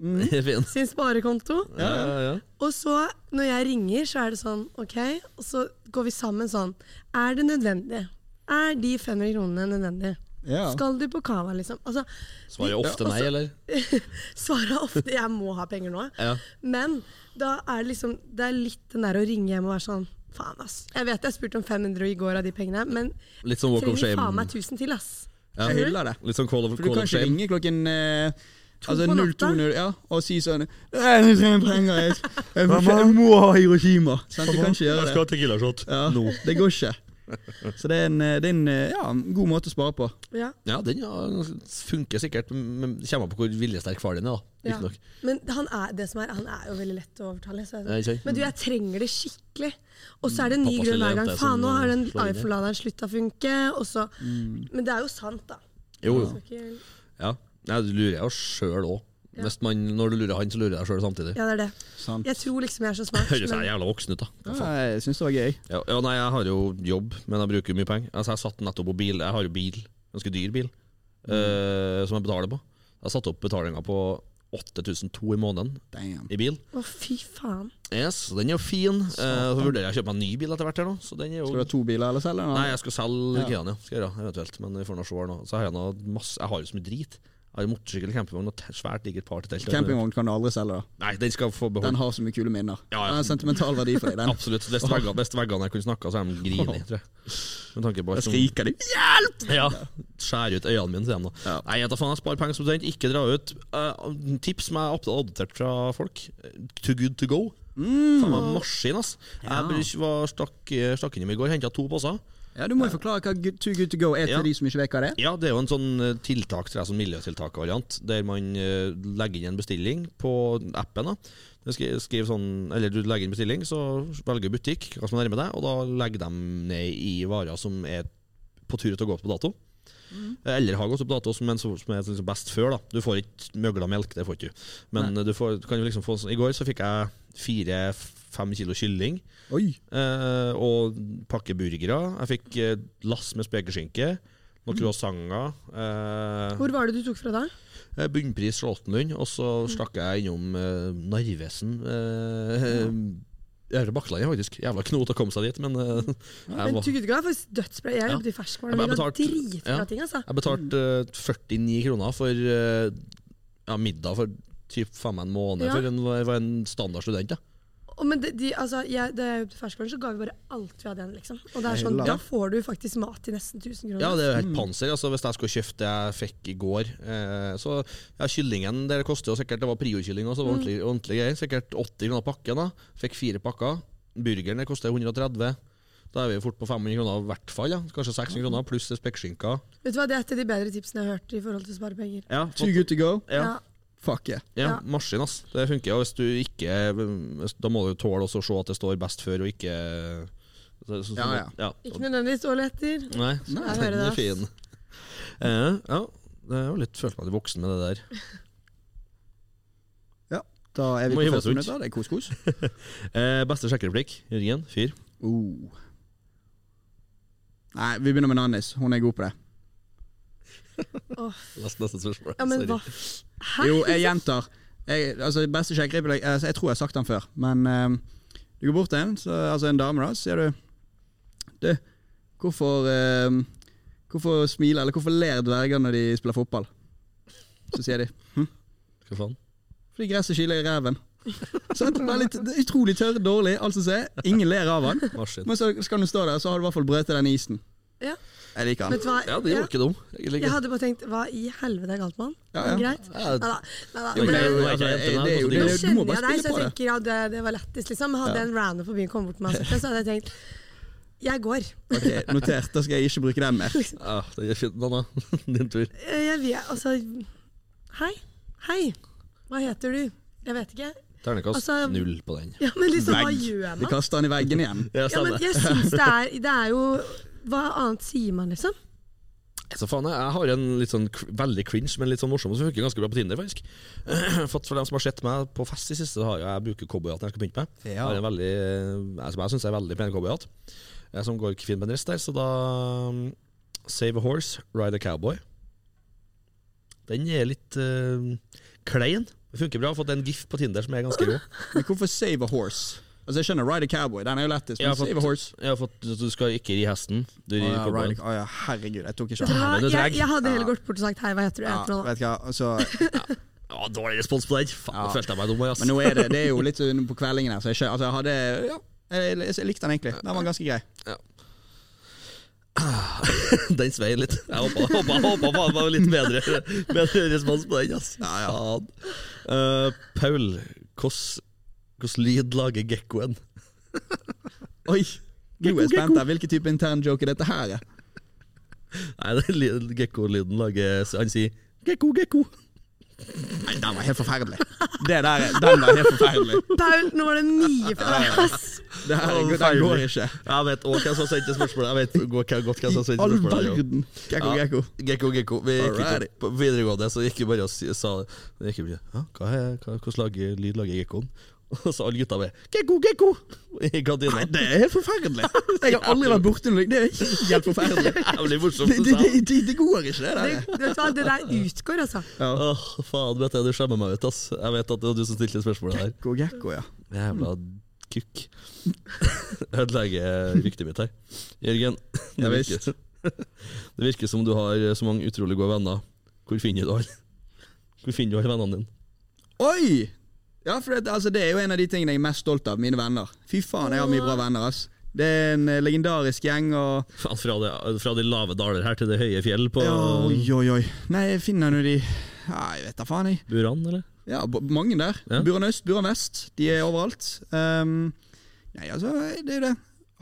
Speaker 3: Mm.
Speaker 1: Fin.
Speaker 3: Sin sparekonto.
Speaker 1: Ja, ja, ja.
Speaker 3: Og så, når jeg ringer, så er det sånn OK, og så går vi sammen sånn Er det nødvendig? Er de 500 kronene nødvendig?
Speaker 2: Ja.
Speaker 3: Skal du på cava, liksom? Altså,
Speaker 1: Svarer jeg ofte nei, eller?
Speaker 3: Svaret er ofte 'jeg må ha penger nå'.
Speaker 1: Ja.
Speaker 3: Men da er det liksom Det er litt den der å ringe hjem og være sånn Faen, ass. Jeg vet jeg spurte om 500 i går av de pengene, men
Speaker 1: Litt sånn walk of
Speaker 3: trenger faen
Speaker 1: shame.
Speaker 3: meg 1000 til, ass.
Speaker 1: Ja.
Speaker 2: Jeg hyller det.
Speaker 1: Litt sånn call of,
Speaker 2: For du
Speaker 1: call
Speaker 2: kan
Speaker 1: of
Speaker 2: ikke
Speaker 1: shame.
Speaker 2: ringe klokken eh, altså
Speaker 3: på natta.
Speaker 2: 02.00 ja, og si sånn «Nei, Jeg trenger penger, jeg, jeg, må- jeg må ha Hiroshima. Sant, du kan ikke gjøre det.
Speaker 1: ha tequila-shot
Speaker 2: Ja, det går ikke. Så det er en, eh, det er en eh, ja, en god måte å spare på.
Speaker 3: Ja.
Speaker 1: Ja, den ja, funker sikkert, men det kommer an på hvor viljesterk far din er, da.
Speaker 3: ja.
Speaker 1: Ikke nok.
Speaker 3: Men han er, det som er, han er jo veldig lett å overtale. Så
Speaker 1: Ja,
Speaker 3: jeg,
Speaker 1: ikke sant? Mm.
Speaker 3: men du, jeg trenger det skikkelig. Og så er det en ny
Speaker 1: Pappas
Speaker 3: grunn
Speaker 1: lille
Speaker 3: hver gang.
Speaker 1: jente som,
Speaker 3: Faen, nå har den
Speaker 1: eh, slår inn Mm. i.
Speaker 3: iPhone-laderen slutta å funke. Og så. Men det er jo sant, da.
Speaker 1: Jo, jo.
Speaker 3: Så ikke-
Speaker 1: Ja. Nei, du lurer jo sjøl òg.
Speaker 3: Ja.
Speaker 1: Når du lurer han, så lurer jeg deg sjøl samtidig.
Speaker 3: Ja, det er det.
Speaker 2: Sant.
Speaker 3: Jeg tror liksom jeg er så smart.
Speaker 1: Høres jeg
Speaker 3: men-
Speaker 1: jævla voksen ut, da. Hva faen?
Speaker 2: Ja, jeg syns det var gøy.
Speaker 1: Ja, ja, nei, jeg har jo jobb, men jeg bruker jo mye penger. Altså, jeg satt nettopp på bil. Jeg har jo bil, ganske dyr bil,
Speaker 3: Mm.
Speaker 1: eh, som jeg betaler på. Jeg satte opp betalinga på 8200 i måneden
Speaker 2: Damn.
Speaker 1: i bil.
Speaker 3: Å, fy faen.
Speaker 1: Yes, så den er jo fin. Eh, så vurderer jeg å kjøpe meg en ny bil etter hvert her nå, så den er jo
Speaker 2: Skal du ha to biler eller selge
Speaker 1: Nei,
Speaker 2: den?
Speaker 1: jeg skal selge Ikeaen, ja. Skal jeg gjøre, eventuelt. Men vi får nå se her nå. Så har jeg nå masse Jeg har jo så mye drit. Jeg har jo motorsykkel, campingvogn og te- svært digert partytelt.
Speaker 2: Campingvogn kan du aldri selge. da
Speaker 1: Nei, den skal jeg få
Speaker 2: Den
Speaker 1: beholde.
Speaker 2: har så mye kule minner.
Speaker 1: Ja, ja.
Speaker 2: Den har sentimental verdi for deg. Den.
Speaker 1: Absolutt. Hvis veggene, hvis veggene jeg kunne snakka, så er de grine, tror jeg. Med tanke på alt som-
Speaker 2: skriker de.
Speaker 1: Ja. Skjære ut øynene mine, sier de da. Nei, jeg tar faen, jeg sparer penger som student, ikke dra ut. Eh, tips som jeg har adoptert fra folk. Too good to go.
Speaker 2: Mm.
Speaker 1: Faen meg maskin, ass. Jeg var, stakk, stakk innom i går, henta to poser.
Speaker 2: Ja, Du må jo forklare hva good, Too Good To Go er
Speaker 1: Ja.
Speaker 2: til de som ikke vet hva det er.
Speaker 1: Ja, det er jo en sånn eh, tiltak, tror jeg, sånn miljøtiltak-variant, der man eh, legger inn en bestilling på appen. da. Du skri- skriver sånn, eller du legger inn bestilling, så velger butikk hva som er nærme deg, og da legger de ned i varer som er på tur til å gå opp på dato. Eller har gått opp på dato, som er, som er liksom best før. da. Du får ikke møgla melk, det får ikke du. Men eh, du, får, du kan jo liksom få sånn I går så fikk jeg fire-fem kilo kylling.
Speaker 2: Oi,
Speaker 1: Eh, og pakke burgere. Jeg fikk eh, lass med spekeskinke. Noen croissanter. Eh,
Speaker 3: Mm. Hvor var det du tok fra da?
Speaker 1: eh, Bunnpris Charlottenlund. Og så
Speaker 3: Mm.
Speaker 1: stakk jeg innom eh, Narvesen. Eh, Øvre Bakklandet, faktisk. Jævla knot å komme seg dit, men eh, jeg,
Speaker 3: Men
Speaker 1: var,
Speaker 3: Tugudga er faktisk dødsbra. Jeg
Speaker 1: Ja.
Speaker 3: jobbet i ferskvaren.
Speaker 1: Jeg
Speaker 3: Vi
Speaker 1: bare
Speaker 3: ga
Speaker 1: betalte-
Speaker 3: dritbra
Speaker 1: ja.
Speaker 3: ting, altså.
Speaker 1: jeg betalte eh, 49 kroner for eh, ja, middag for typ faen meg en måned
Speaker 3: Ja.
Speaker 1: for en, for en standardstudent. Ja.
Speaker 3: Og men de, de, altså, jeg, da jeg jobbet i ferskvaren, så ga vi bare alt vi hadde igjen, liksom. Og det er sånn,
Speaker 2: Heller.
Speaker 3: da får du faktisk mat til nesten 1000 kroner.
Speaker 1: Ja, det er jo helt panser. Altså, hvis jeg skulle kjøpt det jeg fikk i går eh, Så ja, Kyllingen der koster jo sikkert Det var priokylling, også, det var ordentlig,
Speaker 3: Mm.
Speaker 1: ordentlig greier. Sikkert 80 kroner pakken. da Fikk fire pakker. Burgeren der koster 130. Da er vi jo fort på 500 kroner i hvert fall. Ja. Kanskje 600 kroner, pluss spekkskinka.
Speaker 3: Vet du hva, det er et av de bedre tipsene jeg har hørt i forhold til å spare penger.
Speaker 1: Ja,
Speaker 2: Too Good To Go.
Speaker 1: Ja.
Speaker 2: Fuck yeah.
Speaker 1: ja,
Speaker 3: Ja.
Speaker 1: maskin, ass. Det funker. Og hvis du ikke hvis- Da må du tåle også å se at det står best før, og ikke så, så, så,
Speaker 2: Ja, ja.
Speaker 3: Ikke nødvendigvis året etter.
Speaker 1: Nei,
Speaker 3: Nei, jeg hører
Speaker 1: den er
Speaker 3: det,
Speaker 1: fin. Eh, ja, det er jo litt følt meg litt voksen med det der.
Speaker 2: Da er vi
Speaker 1: Må
Speaker 2: på
Speaker 1: hive oss
Speaker 2: første
Speaker 1: ut.
Speaker 2: minutt. da. Det er kos-kos.
Speaker 1: Eh, beste sjekkereplikk, Jørgen? Fyr.
Speaker 2: Oh. Nei, vi begynner med Nannis. Hun er god på det.
Speaker 1: Lest neste spørsmål.
Speaker 3: Ja, men hva?
Speaker 1: Sorry.
Speaker 3: Hæ?
Speaker 2: Jo, jeg gjentar. Jeg, altså, beste sjekkerippelegg altså, Jeg tror jeg har sagt den før, men eh, du går bort til en, så, altså en dame, da, så sier du Du, hvorfor eh, Hvorfor smiler, eller hvorfor ler dverger når de spiller fotball? Så sier de
Speaker 1: Hva faen?
Speaker 2: fordi gresset kiler i ræven. Sant? Det er litt det er utrolig tørr, dårlig, alt som er. Ingen ler av han.
Speaker 1: Maskin.
Speaker 2: Men så skal du stå der, så har du i hvert fall brøtet den isen.
Speaker 3: Ja.
Speaker 2: Jeg liker
Speaker 3: Vet
Speaker 2: han.
Speaker 3: du hva?
Speaker 1: Ja, det var ikke dum. egentlig
Speaker 3: Jeg
Speaker 1: ikke.
Speaker 3: hadde bare tenkt, hva i helvete er galt med han?
Speaker 2: Ja,
Speaker 3: Men
Speaker 2: ja.
Speaker 3: Greit?
Speaker 1: Ja,
Speaker 3: Neida, neida.
Speaker 1: Jo, men
Speaker 2: det er jo-
Speaker 3: Men-
Speaker 2: altså, det er jo- det er jo- du
Speaker 3: Nå
Speaker 2: må
Speaker 3: kjenner
Speaker 2: bare
Speaker 3: jeg deg,
Speaker 2: spille
Speaker 3: så jeg
Speaker 2: på det.
Speaker 3: tenker ja, det, det var lættis, liksom. Hadde en random på byen kommet bort til meg, og sagt det, så hadde jeg tenkt Jeg går.
Speaker 2: Ok, Notert. Da skal jeg ikke bruke den mer.
Speaker 1: Ja, det er fint, Nanna. Din tur.
Speaker 3: Eh, Jeg vet Altså Hei. Hei. Hva heter du? Jeg vet ikke.
Speaker 1: Ternekast
Speaker 3: Altså-
Speaker 1: null på den.
Speaker 3: Ja, men liksom, hva
Speaker 2: Vegg.
Speaker 3: gjør
Speaker 2: Vi
Speaker 3: man?
Speaker 2: kaster den i veggen igjen.
Speaker 1: Ja,
Speaker 3: Ja, men
Speaker 1: stemmer.
Speaker 3: jeg syns det er Det er jo Hva annet sier man, liksom?
Speaker 1: Så faen, jeg- jeg har en litt sånn cr- veldig cringe, men litt sånn morsom som funker ganske bra på Tinder, faktisk. For, for dem som har sett meg på fest i siste, så har jeg, jeg bruker cowboyhatten jeg skal pynte meg. Jeg
Speaker 2: Ja.
Speaker 1: har en veldig, eh, som jeg syns er en veldig pen cowboyhatt, eh, som går fint med en rist der. Så da mm, Save a horse, ride a cowboy. Den er litt eh, klein. Det funker bra. Jeg har fått en gif på Tinder som er ganske rå.
Speaker 2: Men hvorfor save a horse? Altså, jeg skjønner Ride a cowboy, den er jo lettest.
Speaker 1: Ja,
Speaker 2: Men
Speaker 1: for-
Speaker 2: save a horse
Speaker 1: Jeg har fått Du skal ikke ri hesten, du
Speaker 2: Å
Speaker 1: rir
Speaker 2: ja,
Speaker 1: cowboyen.
Speaker 2: ride a, å ja, herregud, jeg tok ikke
Speaker 3: Vet dere
Speaker 2: av.
Speaker 3: hva?
Speaker 1: men det er
Speaker 3: Jeg,
Speaker 1: drag.
Speaker 3: jeg hadde heller gått bort og sagt hei, hva heter du? Jeg
Speaker 2: Ja,
Speaker 3: heter noe.
Speaker 2: vet du hva, altså,
Speaker 1: Ja, dårlig respons på den. Faen,
Speaker 2: Ja.
Speaker 1: nå følte jeg meg dum. ass.
Speaker 2: men nå er det, det er jo litt sånn på kveldingen her, så jeg, skjø- altså, jeg hadde ja, jeg, jeg, jeg likte den egentlig. Den var ganske grei.
Speaker 1: Den svei litt. Jeg håpa, håpa, håpa faen meg litt bedre, bedre respons på den. ass.
Speaker 2: Ja, ja.
Speaker 1: Faen. Eh, Paul, hvordan lyd lager gekkoen?
Speaker 2: Oi! Nå er
Speaker 1: Gekko,
Speaker 2: jeg spent
Speaker 1: gekko.
Speaker 2: her. Hvilken type intern joke er dette her? ja?
Speaker 1: Nei, det er lyd- gekkolyden lager så Han sier gekko, gekko.
Speaker 2: Nei, den var helt forferdelig. Det der, den var helt forferdelig.
Speaker 3: Paul, nå var det mye for deg, ass.
Speaker 2: Det her den går ikke.
Speaker 1: Jeg vet også hvem som sendte spørsmålet. Jeg vet gå- hva- godt hvem som sendte
Speaker 2: All
Speaker 1: spørsmålet. jo.
Speaker 2: verden. Gekko,
Speaker 1: Ja,
Speaker 2: gekko.
Speaker 1: Gekko, gekko. Vi gikk
Speaker 2: Alrighty.
Speaker 1: ikke på videregående, så gikk vi bare og si- sa vi gikk bare, «Hæ? hva er, hva, Hvordan lager, lyd lager gekkoen? Og så alle gutta med 'gekko, gekko' i kantina.
Speaker 2: Nei, det er helt forferdelig. Jeg har aldri vært borti noe likt. Det er helt forferdelig.
Speaker 1: Jævlig morsomt.
Speaker 2: Det,
Speaker 1: du
Speaker 2: det,
Speaker 1: sa.
Speaker 2: det, det, det går ikke, det
Speaker 3: Det,
Speaker 2: der.
Speaker 3: vet du hva, det der utgår, altså.
Speaker 2: Ja.
Speaker 1: Åh, faen, vet jeg, du skjemmer meg ut, ass. Jeg vet at det var du som stilte spørsmålet her.
Speaker 2: Gekko, gekko, ja.
Speaker 1: Jævla kukk. Ødelegger ryktet mitt her. Jørgen, det
Speaker 2: Ja, visst.
Speaker 1: virker, det virker som du har eh, så mange utrolig gode venner. Hvor finner du alle? Hvor finner du alle vennene dine?
Speaker 2: Oi! Ja, for det, altså, det er jo en av de tingene jeg er mest stolt av. Mine venner. Fy faen, jeg har mye bra venner. ass. Det er en eh, legendarisk gjeng. og...
Speaker 1: Faen, fra, det, fra de lave daler her til det høye fjell på
Speaker 2: Ja, oi, oi, oi. Nei, jeg finner nå de ja, Jeg vet da faen, jeg.
Speaker 1: Buran, eller?
Speaker 2: Ja, b- mange der.
Speaker 1: Ja.
Speaker 2: Buran øst, Buran vest. De er overalt. Ehm, nei, altså, det er jo det.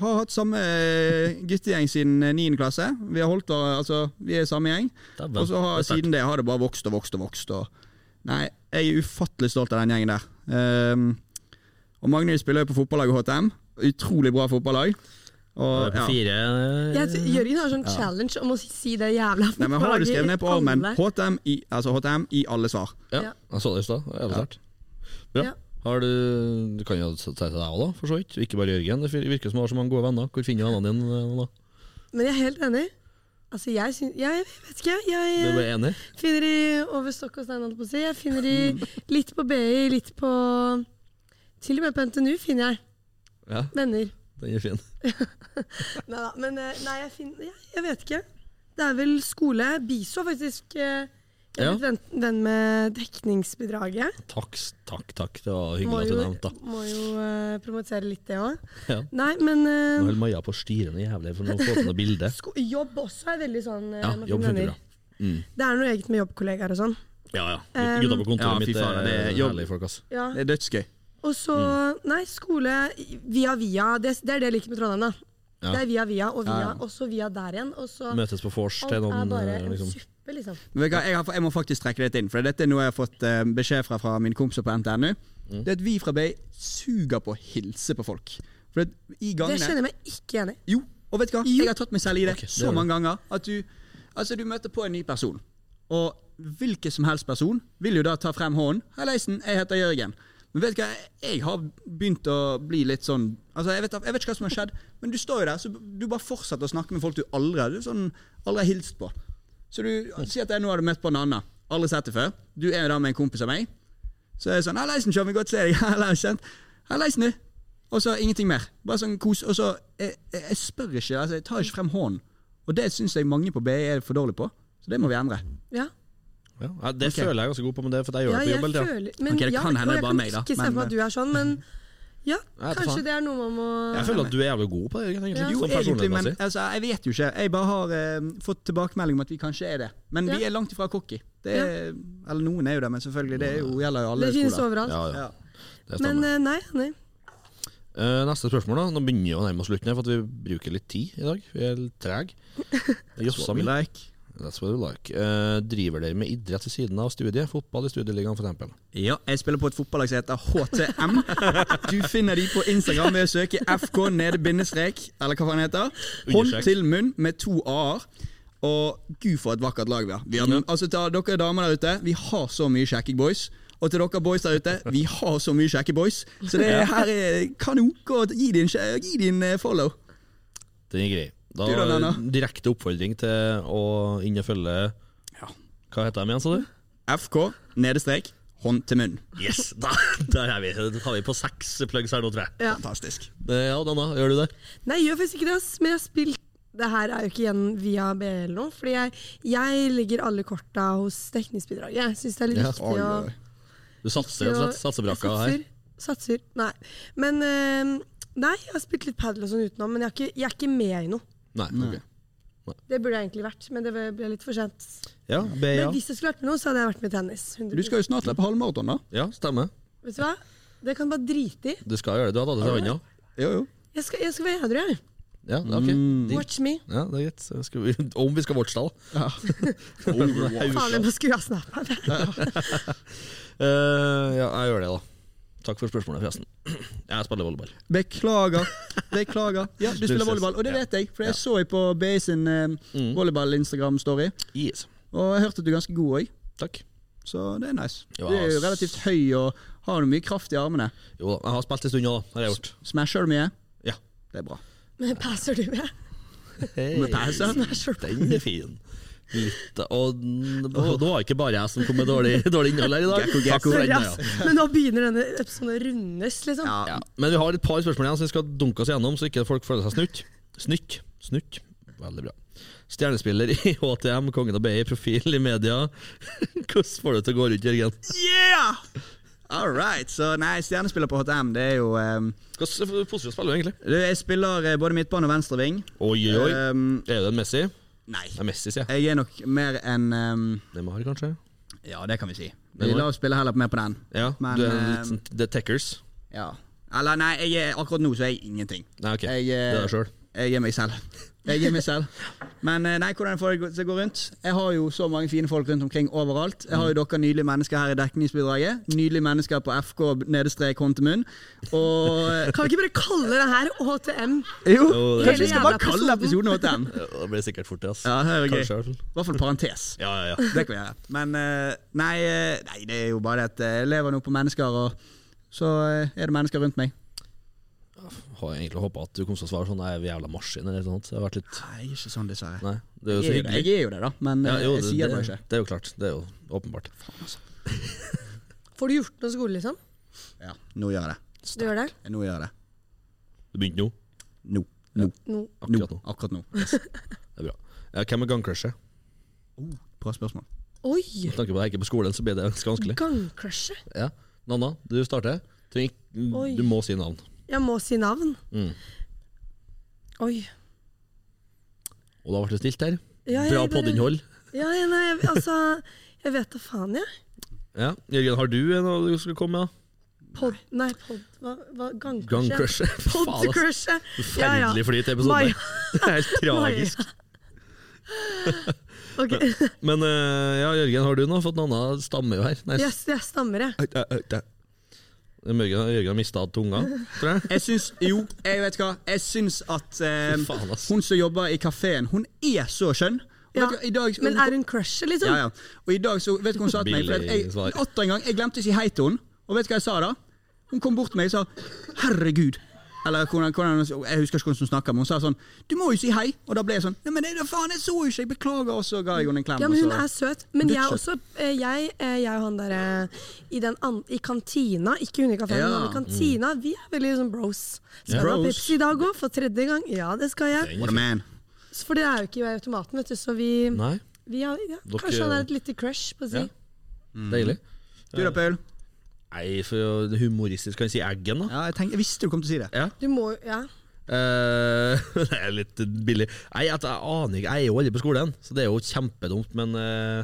Speaker 2: Har hatt samme eh, guttegjeng siden 9. klasse. Vi har holdt hver- altså, vi er samme gjeng.
Speaker 1: Dæven,
Speaker 2: Og så har
Speaker 1: det er sterkt.
Speaker 2: siden det har det bare vokst og vokst og vokst. Og nei, jeg er ufattelig stolt av den gjengen der. Ehm, og Magnhild spiller jo på fotballaget HTM. Utrolig bra fotballag.
Speaker 1: Det er
Speaker 2: Og,
Speaker 1: på
Speaker 2: ja.
Speaker 1: fire eh,
Speaker 3: Jeg, tror- Jørgen har sånn challenge om å si det jævla
Speaker 2: Nei, men har du skrevet ned på armen
Speaker 3: Alle.
Speaker 2: HTM i, altså HTM i alle svar?
Speaker 1: Ja, jeg så det i stad. Jævlig sterkt. Bra.
Speaker 3: Ja.
Speaker 1: Har du, du kan jo si til deg òg, da, for så vidt. Ikke bare Jørgen. Det virker som du har så mange gode venner. Hvor finner du vennene dine? eh, da?
Speaker 3: Men jeg er helt enig. Altså, jeg syns Jeg vet ikke, jeg.
Speaker 1: Du
Speaker 3: jeg
Speaker 1: ble enig?
Speaker 3: Finner de over stokk og stein, holdt jeg på å si. Jeg finner de litt på BI, litt på Til og med på NTNU finner jeg
Speaker 1: Ja,
Speaker 3: venner.
Speaker 1: den er fin.
Speaker 3: Nei da, men eh, nei, jeg finner jeg, jeg vet ikke. Det er vel skole. Biso er faktisk eh,
Speaker 1: Ja.
Speaker 3: Jeg er blitt venn, venn med dekningsbidraget.
Speaker 1: Takk, takk, takk. Det var hyggelig
Speaker 3: Må
Speaker 1: at du
Speaker 3: jo,
Speaker 1: nevnte det.
Speaker 3: må jo eh, promotere litt det òg.
Speaker 1: Ja.
Speaker 3: Nei, men eh,
Speaker 1: Nå holder Maja på å styre noe jævlig for å få til noe bilde.
Speaker 3: sko jobb også er veldig sånn eh,
Speaker 1: Ja,
Speaker 3: man
Speaker 1: jobb funker
Speaker 3: finner venner.
Speaker 1: bra. Mm.
Speaker 3: Det er noe eget med jobbkollegaer og sånn.
Speaker 1: Ja, ja.
Speaker 3: Um,
Speaker 1: Gutta på kontoret
Speaker 2: Ja, fy
Speaker 1: mitt
Speaker 2: faen,
Speaker 1: er,
Speaker 2: det er jobb.
Speaker 1: herlige folk, ass.
Speaker 3: Ja.
Speaker 2: Det er dødsgøy.
Speaker 3: Og så
Speaker 1: Mm.
Speaker 3: Nei, skole via via. Det, det er det jeg liker med Trondheim, da.
Speaker 1: Ja.
Speaker 3: Det er via via og via,
Speaker 2: Ja, ja.
Speaker 3: og så via der igjen. Og så
Speaker 1: Møtes på vors
Speaker 3: alt
Speaker 1: til
Speaker 3: er
Speaker 1: noen
Speaker 3: bare
Speaker 1: eh,
Speaker 3: en
Speaker 1: liksom.
Speaker 3: suppe, liksom.
Speaker 2: Men vet du hva, jeg, har, jeg må faktisk trekke dette inn, for dette er noe jeg har fått eh, beskjed fra fra mine kompiser på NTNU. Det er at vi fra BI suger på å hilse på folk. For at i
Speaker 3: Det
Speaker 2: gangene
Speaker 3: kjenner jeg meg ikke enig i.
Speaker 2: Jo, og vet du hva? Jeg har tatt meg selv i det
Speaker 1: Ok, det
Speaker 2: så
Speaker 1: gjør du.
Speaker 2: mange ganger at du Altså, du møter på en ny person, og hvilken som helst person vil jo da ta frem hånden. 'Halleisen, jeg heter Jørgen'. Men vet du hva, jeg har begynt å bli litt sånn Altså, jeg vet, jeg vet ikke hva som har skjedd, men du står jo der, så du bare fortsetter å snakke med folk du aldri har sånn, aldri har hilst på. Så du Si at jeg nå har du møtt på en annen. Aldri sett det før. Du er jo da med en kompis av meg. Så er det sånn 'Halleisen, kjør vi godt se deg'. Halleisen. Halleisen, du. Og så ingenting mer. Bare sånn kos. Og så jeg, jeg, jeg spør ikke, altså, jeg tar ikke frem hånden. Og det syns jeg mange på BI er for dårlig på, så det må vi endre.
Speaker 3: Ja.
Speaker 1: Ja, ja, det
Speaker 2: Ok.
Speaker 1: føler jeg er ganske god på, men det er for at jeg gjør
Speaker 3: Ja,
Speaker 1: det på
Speaker 3: jeg
Speaker 1: jobb hele tida.
Speaker 3: føler men,
Speaker 2: Ok, det
Speaker 3: ja,
Speaker 2: kan hende
Speaker 3: og
Speaker 2: det er
Speaker 3: jeg
Speaker 2: bare meg, da,
Speaker 3: Ikke se
Speaker 2: men- eh,
Speaker 3: for meg at du er sånn, men ja,
Speaker 1: vet
Speaker 3: kanskje
Speaker 1: faen.
Speaker 3: det er noe man må
Speaker 1: Jeg føler at du er jævlig god på det, Jørgen.
Speaker 3: Ja.
Speaker 1: egentlig.
Speaker 2: Jo,
Speaker 1: Sånn
Speaker 2: egentlig, men
Speaker 1: personlighetsmessig.
Speaker 2: altså, jeg vet jo ikke. Jeg bare har eh, fått tilbakemelding om at vi kanskje er det. Men vi
Speaker 3: Ja.
Speaker 2: er langt ifra cocky. Det er, Eller noen er jo det, men selvfølgelig, det er jo, gjelder jo alle
Speaker 3: Det finnes
Speaker 2: skoler.
Speaker 3: overalt.
Speaker 1: Ja, ja.
Speaker 2: Ja.
Speaker 1: Det
Speaker 3: Men
Speaker 1: stemmer.
Speaker 3: eh, nei, nei.
Speaker 1: Eh, neste spørsmål, da. Nå begynner vi å nærme oss slutten, her, for at vi bruker litt tid i dag. Vi er litt trege. Jossa mi.
Speaker 2: Like.
Speaker 1: That's what we like. Eh, driver dere med idrett ved siden av studiet? Fotball i studieligaen, f.eks.?
Speaker 2: Ja, jeg spiller på et fotballag som heter HTM. Du finner de på Instagram ved å søke FK nede bindestrek, eller hva faen det heter. Hånd
Speaker 1: Understrek.
Speaker 2: til munn med to a-er. Og gud, for et vakkert lag vi har. Vi har altså, til dere damer der ute, vi har så mye kjekke boys. Og til dere boys der ute, vi har så mye kjekke boys. Så det her er kanon. Gå og Gi din, kje- gi din eh, follow.
Speaker 1: Den er grei. Da,
Speaker 2: Du da, Nanna?
Speaker 1: direkte oppfordring til å inn og følge
Speaker 2: Ja.
Speaker 1: Hva heter de igjen, sa du?
Speaker 2: FK nedestrek hånd til munn.
Speaker 1: Yes, da, der er vi. Da har vi på seks plugs her nå, tror jeg.
Speaker 3: Ja.
Speaker 2: Fantastisk.
Speaker 1: Eh, Ja, Nanna, gjør du det?
Speaker 3: Nei, jeg gjør faktisk ikke det, ass. Men jeg har spilt Det her er jo ikke igjen via BL eller noe. Fordi jeg, jeg legger alle korta hos dekningsbidraget. Jeg syns det er litt
Speaker 1: Ja.
Speaker 3: viktig å
Speaker 1: Du satser rett og slett? Satser brakka her?
Speaker 3: satser, satser. Nei. Men eh, Nei, jeg har spilt litt padel og sånn utenom, men jeg, har ikke, jeg er ikke med i noe.
Speaker 1: Nei. ok.
Speaker 3: Det burde jeg egentlig vært, men det ble litt for sent.
Speaker 1: Ja, B, ja.
Speaker 3: Men hvis jeg skulle vært med noe, så hadde jeg vært med i tennis. 100%.
Speaker 2: Du skal jo snart løpe halvmaraton, da.
Speaker 1: ja, stemmer.
Speaker 3: Vet du hva? Det kan du bare drite i.
Speaker 1: Du skal gjøre det. Du har tatt det til hånda.
Speaker 2: Jo, jo.
Speaker 3: Jeg skal, jeg skal være edru, jeg.
Speaker 1: Ja, det Mm. er ok. Deal.
Speaker 3: Watch me.
Speaker 1: Ja, det er greit. Så Skal vi, om vi skal watche, da.
Speaker 3: Faen, jeg må skru av snappen.
Speaker 1: Eh, ja, jeg gjør det, da. Takk for spørsmålet, forresten. Jeg spiller volleyball.
Speaker 2: Beklager. Beklager. Ja, du spiller
Speaker 1: ses.
Speaker 2: volleyball, og det
Speaker 1: Ja. Mm.
Speaker 2: vet jeg, for jeg så jeg på BI sin eh, volleyball-Instagram-story.
Speaker 1: Yes.
Speaker 2: Og jeg hørte at du er ganske god òg,
Speaker 1: Takk.
Speaker 2: så det er nice.
Speaker 1: Ja,
Speaker 2: Du er jo
Speaker 1: ass.
Speaker 2: relativt høy og har jo mye kraft i armene.
Speaker 1: Jo da, jeg har spilt en stund nå, da. Har jeg gjort.
Speaker 2: Smasher du mye?
Speaker 1: Ja.
Speaker 2: Det er bra.
Speaker 3: Men passer du med?
Speaker 1: Hey.
Speaker 3: Smasher du?
Speaker 1: Den er fin. Litt, og n- og det var ikke bare jeg som kom med dårlig, dårlig innhold her i dag. Takk for
Speaker 3: Sorry,
Speaker 1: den,
Speaker 3: ass.
Speaker 1: ja.
Speaker 3: Men nå begynner denne episoden å rundes, liksom.
Speaker 1: Ja. Men vi har et par spørsmål igjen som vi skal dunke oss gjennom, så ikke folk føler seg snytt. Snytt. Snytt. Veldig bra. Stjernespiller i HTM, kongen av BI, profil i media. Hvordan får du det til å gå rundt, Jørgen?
Speaker 2: Yeah! All right. Så nei, stjernespiller på HTM, det er jo eh,
Speaker 1: Hvordan posisjon spiller du egentlig?
Speaker 2: du, Jeg spiller eh, både midtbane og venstreving.
Speaker 1: Oi, oi, oi.
Speaker 2: Um,
Speaker 1: Er du en Messi?
Speaker 2: nei.
Speaker 1: Nei, Messi, sier jeg.
Speaker 2: Jeg er nok mer enn eh,
Speaker 1: Neymar, kanskje?
Speaker 2: Ja, det kan vi si.
Speaker 1: Det
Speaker 2: Vi
Speaker 1: var-
Speaker 2: la oss spille heller mer på den.
Speaker 1: Ja,
Speaker 2: Men,
Speaker 1: du er
Speaker 2: eh,
Speaker 1: litt sånn The Techers.
Speaker 2: Ja. Eller nei, jeg er, akkurat nå så er jeg ingenting.
Speaker 1: Nei, ok.
Speaker 2: Jeg,
Speaker 1: det
Speaker 2: eh,
Speaker 1: er deg sjøl.
Speaker 2: Jeg er meg selv. Jeg er meg selv. Men eh, nei, hvordan får det til å gå rundt? Jeg har jo så mange fine folk rundt omkring overalt. Jeg har jo dere nydelige mennesker her i dekningsbidraget. Nydelige mennesker på FK nedestrek hånd til munn. Og eh,
Speaker 3: Kan vi ikke bare kalle det her HTM?
Speaker 2: jo,
Speaker 1: Jo, det er
Speaker 2: kanskje vi skal
Speaker 3: hele
Speaker 2: bare kalle
Speaker 3: jævla
Speaker 2: episoden HTM?
Speaker 1: Det blir sikkert fort det, altså.
Speaker 2: Ja, det er jo gøy.
Speaker 1: Kanskje.
Speaker 2: I hvert fall parentes.
Speaker 1: Ja, ja, ja.
Speaker 2: Det kan vi gjøre. Men eh, nei, eh, nei, det er jo bare det at eh, jeg lever nå på mennesker, og så eh, er det mennesker rundt meg.
Speaker 1: Har jeg egentlig håpa at du kom til å svare sånn, jeg er en jævla maskin eller noe sånt. Det har vært litt
Speaker 2: Nei, ikke sånn, dessverre.
Speaker 1: Nei, det er jo så
Speaker 2: Jeg er jo det,
Speaker 1: hyggelig.
Speaker 2: jeg er jo det da, men eh, jeg sier det bare ikke.
Speaker 1: Det er jo klart. Det er jo åpenbart.
Speaker 3: Får du gjort noe skole, liksom?
Speaker 2: Ja, nå gjør jeg det.
Speaker 3: Du gjør det?
Speaker 2: Nå gjør jeg det.
Speaker 1: Du begynte nå?
Speaker 2: Nå. Nå.
Speaker 3: No.
Speaker 1: Akkurat nå.
Speaker 2: Akkurat nå.
Speaker 1: Det er bra. Ja, hvem er gangcrushet?
Speaker 2: Bra spørsmål.
Speaker 3: Oi!
Speaker 1: Med tanke på at jeg ikke er på skolen, så blir det ganske vanskelig.
Speaker 3: Gangcrushet.
Speaker 1: Ja. Nanna, du starter. Du,
Speaker 3: Oi.
Speaker 1: du må si navn.
Speaker 3: Jeg må si navn.
Speaker 1: Mm.
Speaker 3: Oi.
Speaker 1: Og da ble det stilt her.
Speaker 3: Ja, jeg
Speaker 1: Bra
Speaker 3: bare-
Speaker 1: podinnhold.
Speaker 3: Ja, ja, nei, jeg, altså Jeg vet da faen, jeg.
Speaker 1: Ja. Jørgen, har du noe du skal komme med? da?
Speaker 3: Pod... Nei, pod... Hva? hva Gangcrushet?
Speaker 1: Gangcrushet. Faen, altså.
Speaker 3: Podcrushet.
Speaker 1: Forferdelig flyt i episoden.
Speaker 3: Maja.
Speaker 1: her. Det er helt tragisk.
Speaker 3: Ok,
Speaker 1: Men eh, ja, Jørgen, har du noe? For at Nanna stammer jo her. Nei,
Speaker 3: yes, jeg stammer, jeg.
Speaker 1: Oi, oi, oi, oi. Jørgen, Jørgen har mista tunga, tror jeg.
Speaker 2: Jeg syns Jo, jeg vet hva. Jeg syns at eh,
Speaker 1: Fy faen, ass.
Speaker 2: hun som jobber i kafeen, hun er så skjønn. Og
Speaker 3: Ja.
Speaker 2: vet du hva, i dag,
Speaker 3: Men er hun crushet, liksom?
Speaker 2: Ja, ja. Og i dag så Vet du hva hun sa til meg? For at jeg,
Speaker 1: Billig svar.
Speaker 2: atter en gang, jeg glemte å si hei til hun Og vet du hva jeg sa da? Hun kom bort til meg og sa 'herregud'. Eller hvordan, hvordan, Jeg husker ikke hvordan hun snakker, men hun sa sånn 'du må jo si hei'. Og da ble jeg sånn 'nei, men det, faen, jeg så jo ikke', jeg beklager. Og så ga jeg henne en klem.
Speaker 3: Ja, men
Speaker 2: og
Speaker 3: hun
Speaker 2: så-
Speaker 3: er søt. Men jeg er
Speaker 2: Dødssøt.
Speaker 3: også eh, jeg, eh, jeg og han derre i, den an- i kantina, ikke hundekafeen,
Speaker 2: Ja.
Speaker 3: men han i kantina, vi er veldig sånn bros. Skal du ha
Speaker 2: Bros.
Speaker 3: Pepsi i dag òg? For tredje gang? Ja, det skal jeg.
Speaker 2: What a man.
Speaker 3: Så For det er jo ikke i automaten, vet du, så vi,
Speaker 1: Nei,
Speaker 3: vi har ja,
Speaker 1: Dere-
Speaker 3: Kanskje han er et lite crush, på å si.
Speaker 1: Ja. deilig.
Speaker 2: Du da, Paul?
Speaker 1: Nei, for å- humoristisk kan jeg si Eggen, da.
Speaker 2: Ja, jeg, tenkte, jeg visste du kom til å si det.
Speaker 3: Du må jo Ja.
Speaker 1: Eh, det er litt billig. Nei, at jeg aner ikke. Jeg er jo aldri på skolen, så det er jo kjempedumt, men eh,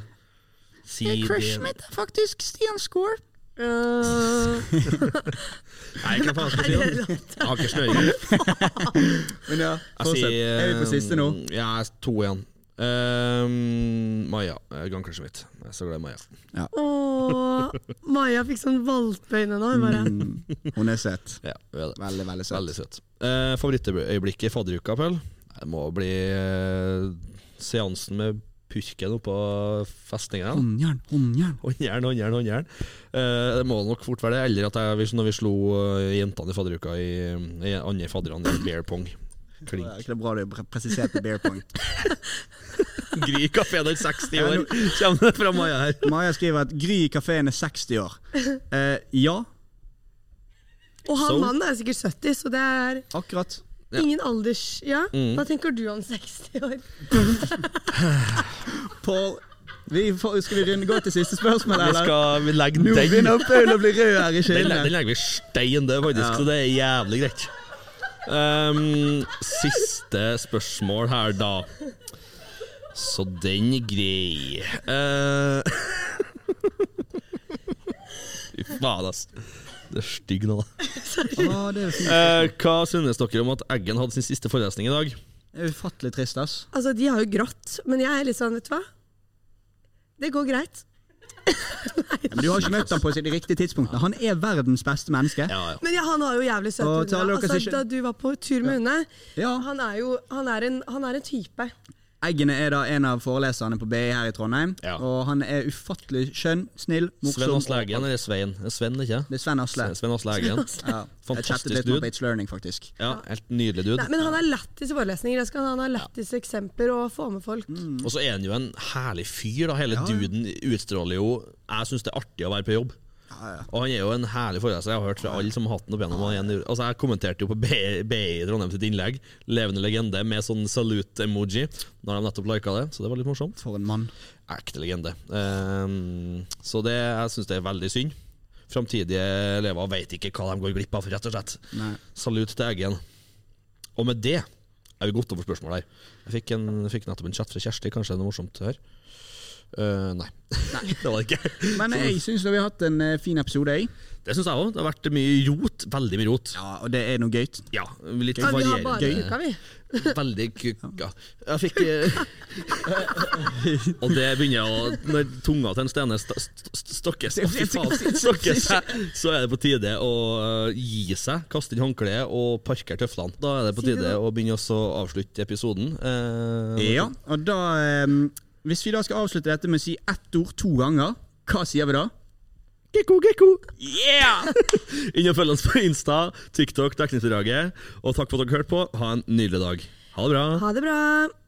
Speaker 1: Si
Speaker 2: Crushet
Speaker 1: det.
Speaker 2: mitt er faktisk Stian Skaar.
Speaker 3: Øh,
Speaker 1: Nei, hva faen skal
Speaker 3: er
Speaker 1: jeg si? da?
Speaker 3: det lov?
Speaker 1: Jeg har ikke snøring.
Speaker 2: Men ja,
Speaker 1: Jeg
Speaker 2: fortsett.
Speaker 1: sier,
Speaker 2: Er vi på siste nå?
Speaker 1: Altså, eh, Ja, jeg er to igjen. Ehm, Maja. eh, Gangcrushet mitt. Jeg er så glad i Maja.
Speaker 3: Åh, Maja fikk sånn valpeøyne nå. Hun bare
Speaker 2: Mm, hun er søt.
Speaker 1: Ja, hun er det.
Speaker 2: Veldig, veldig søt.
Speaker 1: Veldig søt. Eh, favorittøyeblikket i fadderuka, Pøl? Det må bli eh, seansen med purken oppå festningen.
Speaker 2: Håndjern, håndjern.
Speaker 1: Håndjern, håndjern, håndjern. Eh, det må nok fort være det. Eller at jeg, hvis- når vi slo eh, jentene i fadderuka i, i andre fadderne i bear pong.
Speaker 2: Det
Speaker 1: Klink.
Speaker 2: er ikke det bra du pre- presiserte beer pong.
Speaker 1: Gry kafé den 60 år, kommer det fra Maja her.
Speaker 2: Maja skriver at Gry i kafeen er 60 år. Eh, ja,
Speaker 3: Og han
Speaker 1: Så?
Speaker 3: mannen er sikkert 70, så det er
Speaker 2: akkurat.
Speaker 3: ingen alders... Ja,
Speaker 1: Mm.
Speaker 3: hva tenker du om 60 år?
Speaker 2: Paul, vi får, skal vi runde gå til siste spørsmål,
Speaker 1: Vi
Speaker 2: eller?
Speaker 1: skal vi legge
Speaker 2: Nå
Speaker 1: den
Speaker 2: begynner Paul å bli rød her
Speaker 1: Den,
Speaker 2: i
Speaker 1: den
Speaker 2: kinnene.
Speaker 1: legger vi stein død, faktisk,
Speaker 2: Ja.
Speaker 1: så det er jævlig greit. Ehm, siste spørsmål her, da. Så den er grei. Eh, Fy faen, ass. Det er stygg nå, da.
Speaker 2: Å, det er jo fint.
Speaker 1: Eh, hva synes dere om at Eggen hadde sin siste forelesning i dag?
Speaker 2: Det er ufattelig trist, ass.
Speaker 3: Altså, de har jo grått, men jeg er litt sånn, vet du hva? Det går greit.
Speaker 2: Men du har ikke møtt ham på sitt riktige tidspunkt. Han er verdens beste menneske.
Speaker 1: Ja, ja.
Speaker 3: Men ja, han var jo jævlig søt.
Speaker 2: Og til alle
Speaker 3: Une.
Speaker 2: dere som
Speaker 3: Altså,
Speaker 2: ikke-
Speaker 3: da du var på tur med Une,
Speaker 2: Ja,
Speaker 3: han er jo han er en, han er en type.
Speaker 2: Eggene er da en av foreleserne på BI her i Trondheim.
Speaker 1: Ja.
Speaker 2: Og han er ufattelig skjønn, snill, morsom.
Speaker 1: Sven Asle Eggen, eller Svein? Det er Sven, ikke?
Speaker 2: Det er Sven Asle.
Speaker 1: Sven Asle Eggen.
Speaker 2: Ja. Jeg chattet
Speaker 1: Fantastisk
Speaker 2: litt med
Speaker 1: dude.
Speaker 2: Bates Learning, faktisk.
Speaker 1: Ja, helt nydelig dude.
Speaker 3: Nei, men han er lættis i forelesninger. Det skal han ha. Han har lættis eksempler og få med folk.
Speaker 1: Og så er han jo en herlig fyr. da Hele
Speaker 2: Ja, ja.
Speaker 1: duden utstråler jo Jeg syns det er artig å være på jobb.
Speaker 2: Ja, ja.
Speaker 1: Og han er jo en herlig foreleser. Jeg har hørt fra alle som har hatt den opp igjennom. og igjen i- Altså, jeg kommenterte jo på BI i Trondheim sitt innlegg, 'Levende legende', med sånn salute-emoji, når de nettopp lika det. Så det var litt morsomt.
Speaker 2: For en mann.
Speaker 1: Ekte legende. Ehm, så det, jeg syns det er veldig synd. Framtidige elever veit ikke hva de går glipp av, rett og slett.
Speaker 2: Nei.
Speaker 1: Salut til Eggen. Og med det er vi gått over spørsmål her. Jeg fikk, en, jeg fikk nettopp en chat fra Kjersti. Kanskje det er noe morsomt her? Eh, nei. det var det ikke.
Speaker 2: Men jeg syns vi har hatt en eh, fin episode, jeg.
Speaker 1: Det syns jeg òg. Det har vært mye rot. Veldig mye rot.
Speaker 2: Ja, og det er noe gøy.
Speaker 1: Ja, litt
Speaker 3: Ja, vi har bare
Speaker 1: varierende.
Speaker 3: uka, vi.
Speaker 1: Veldig kukka. Jeg fikk eh, Og det begynner å Når tunga til en Stene st st st stokkes, å, fy faen, stokker seg, så er det på tide å eh, gi seg. Kaste inn håndkleet og parkere tøflene. Da er det på
Speaker 3: Sier du
Speaker 1: tide
Speaker 3: det?
Speaker 1: å begynne også å avslutte episoden. Eh,
Speaker 2: Ja, og da eh, Hvis vi da skal avslutte dette med å si ett ord to ganger, hva sier vi da?
Speaker 1: Gekko, gekko! Yeah! Inn og følg oss på Insta, TikTok, Dekningsbidraget. Og takk for at dere hørte på. Ha en nydelig dag. Ha det bra.
Speaker 3: Ha det bra.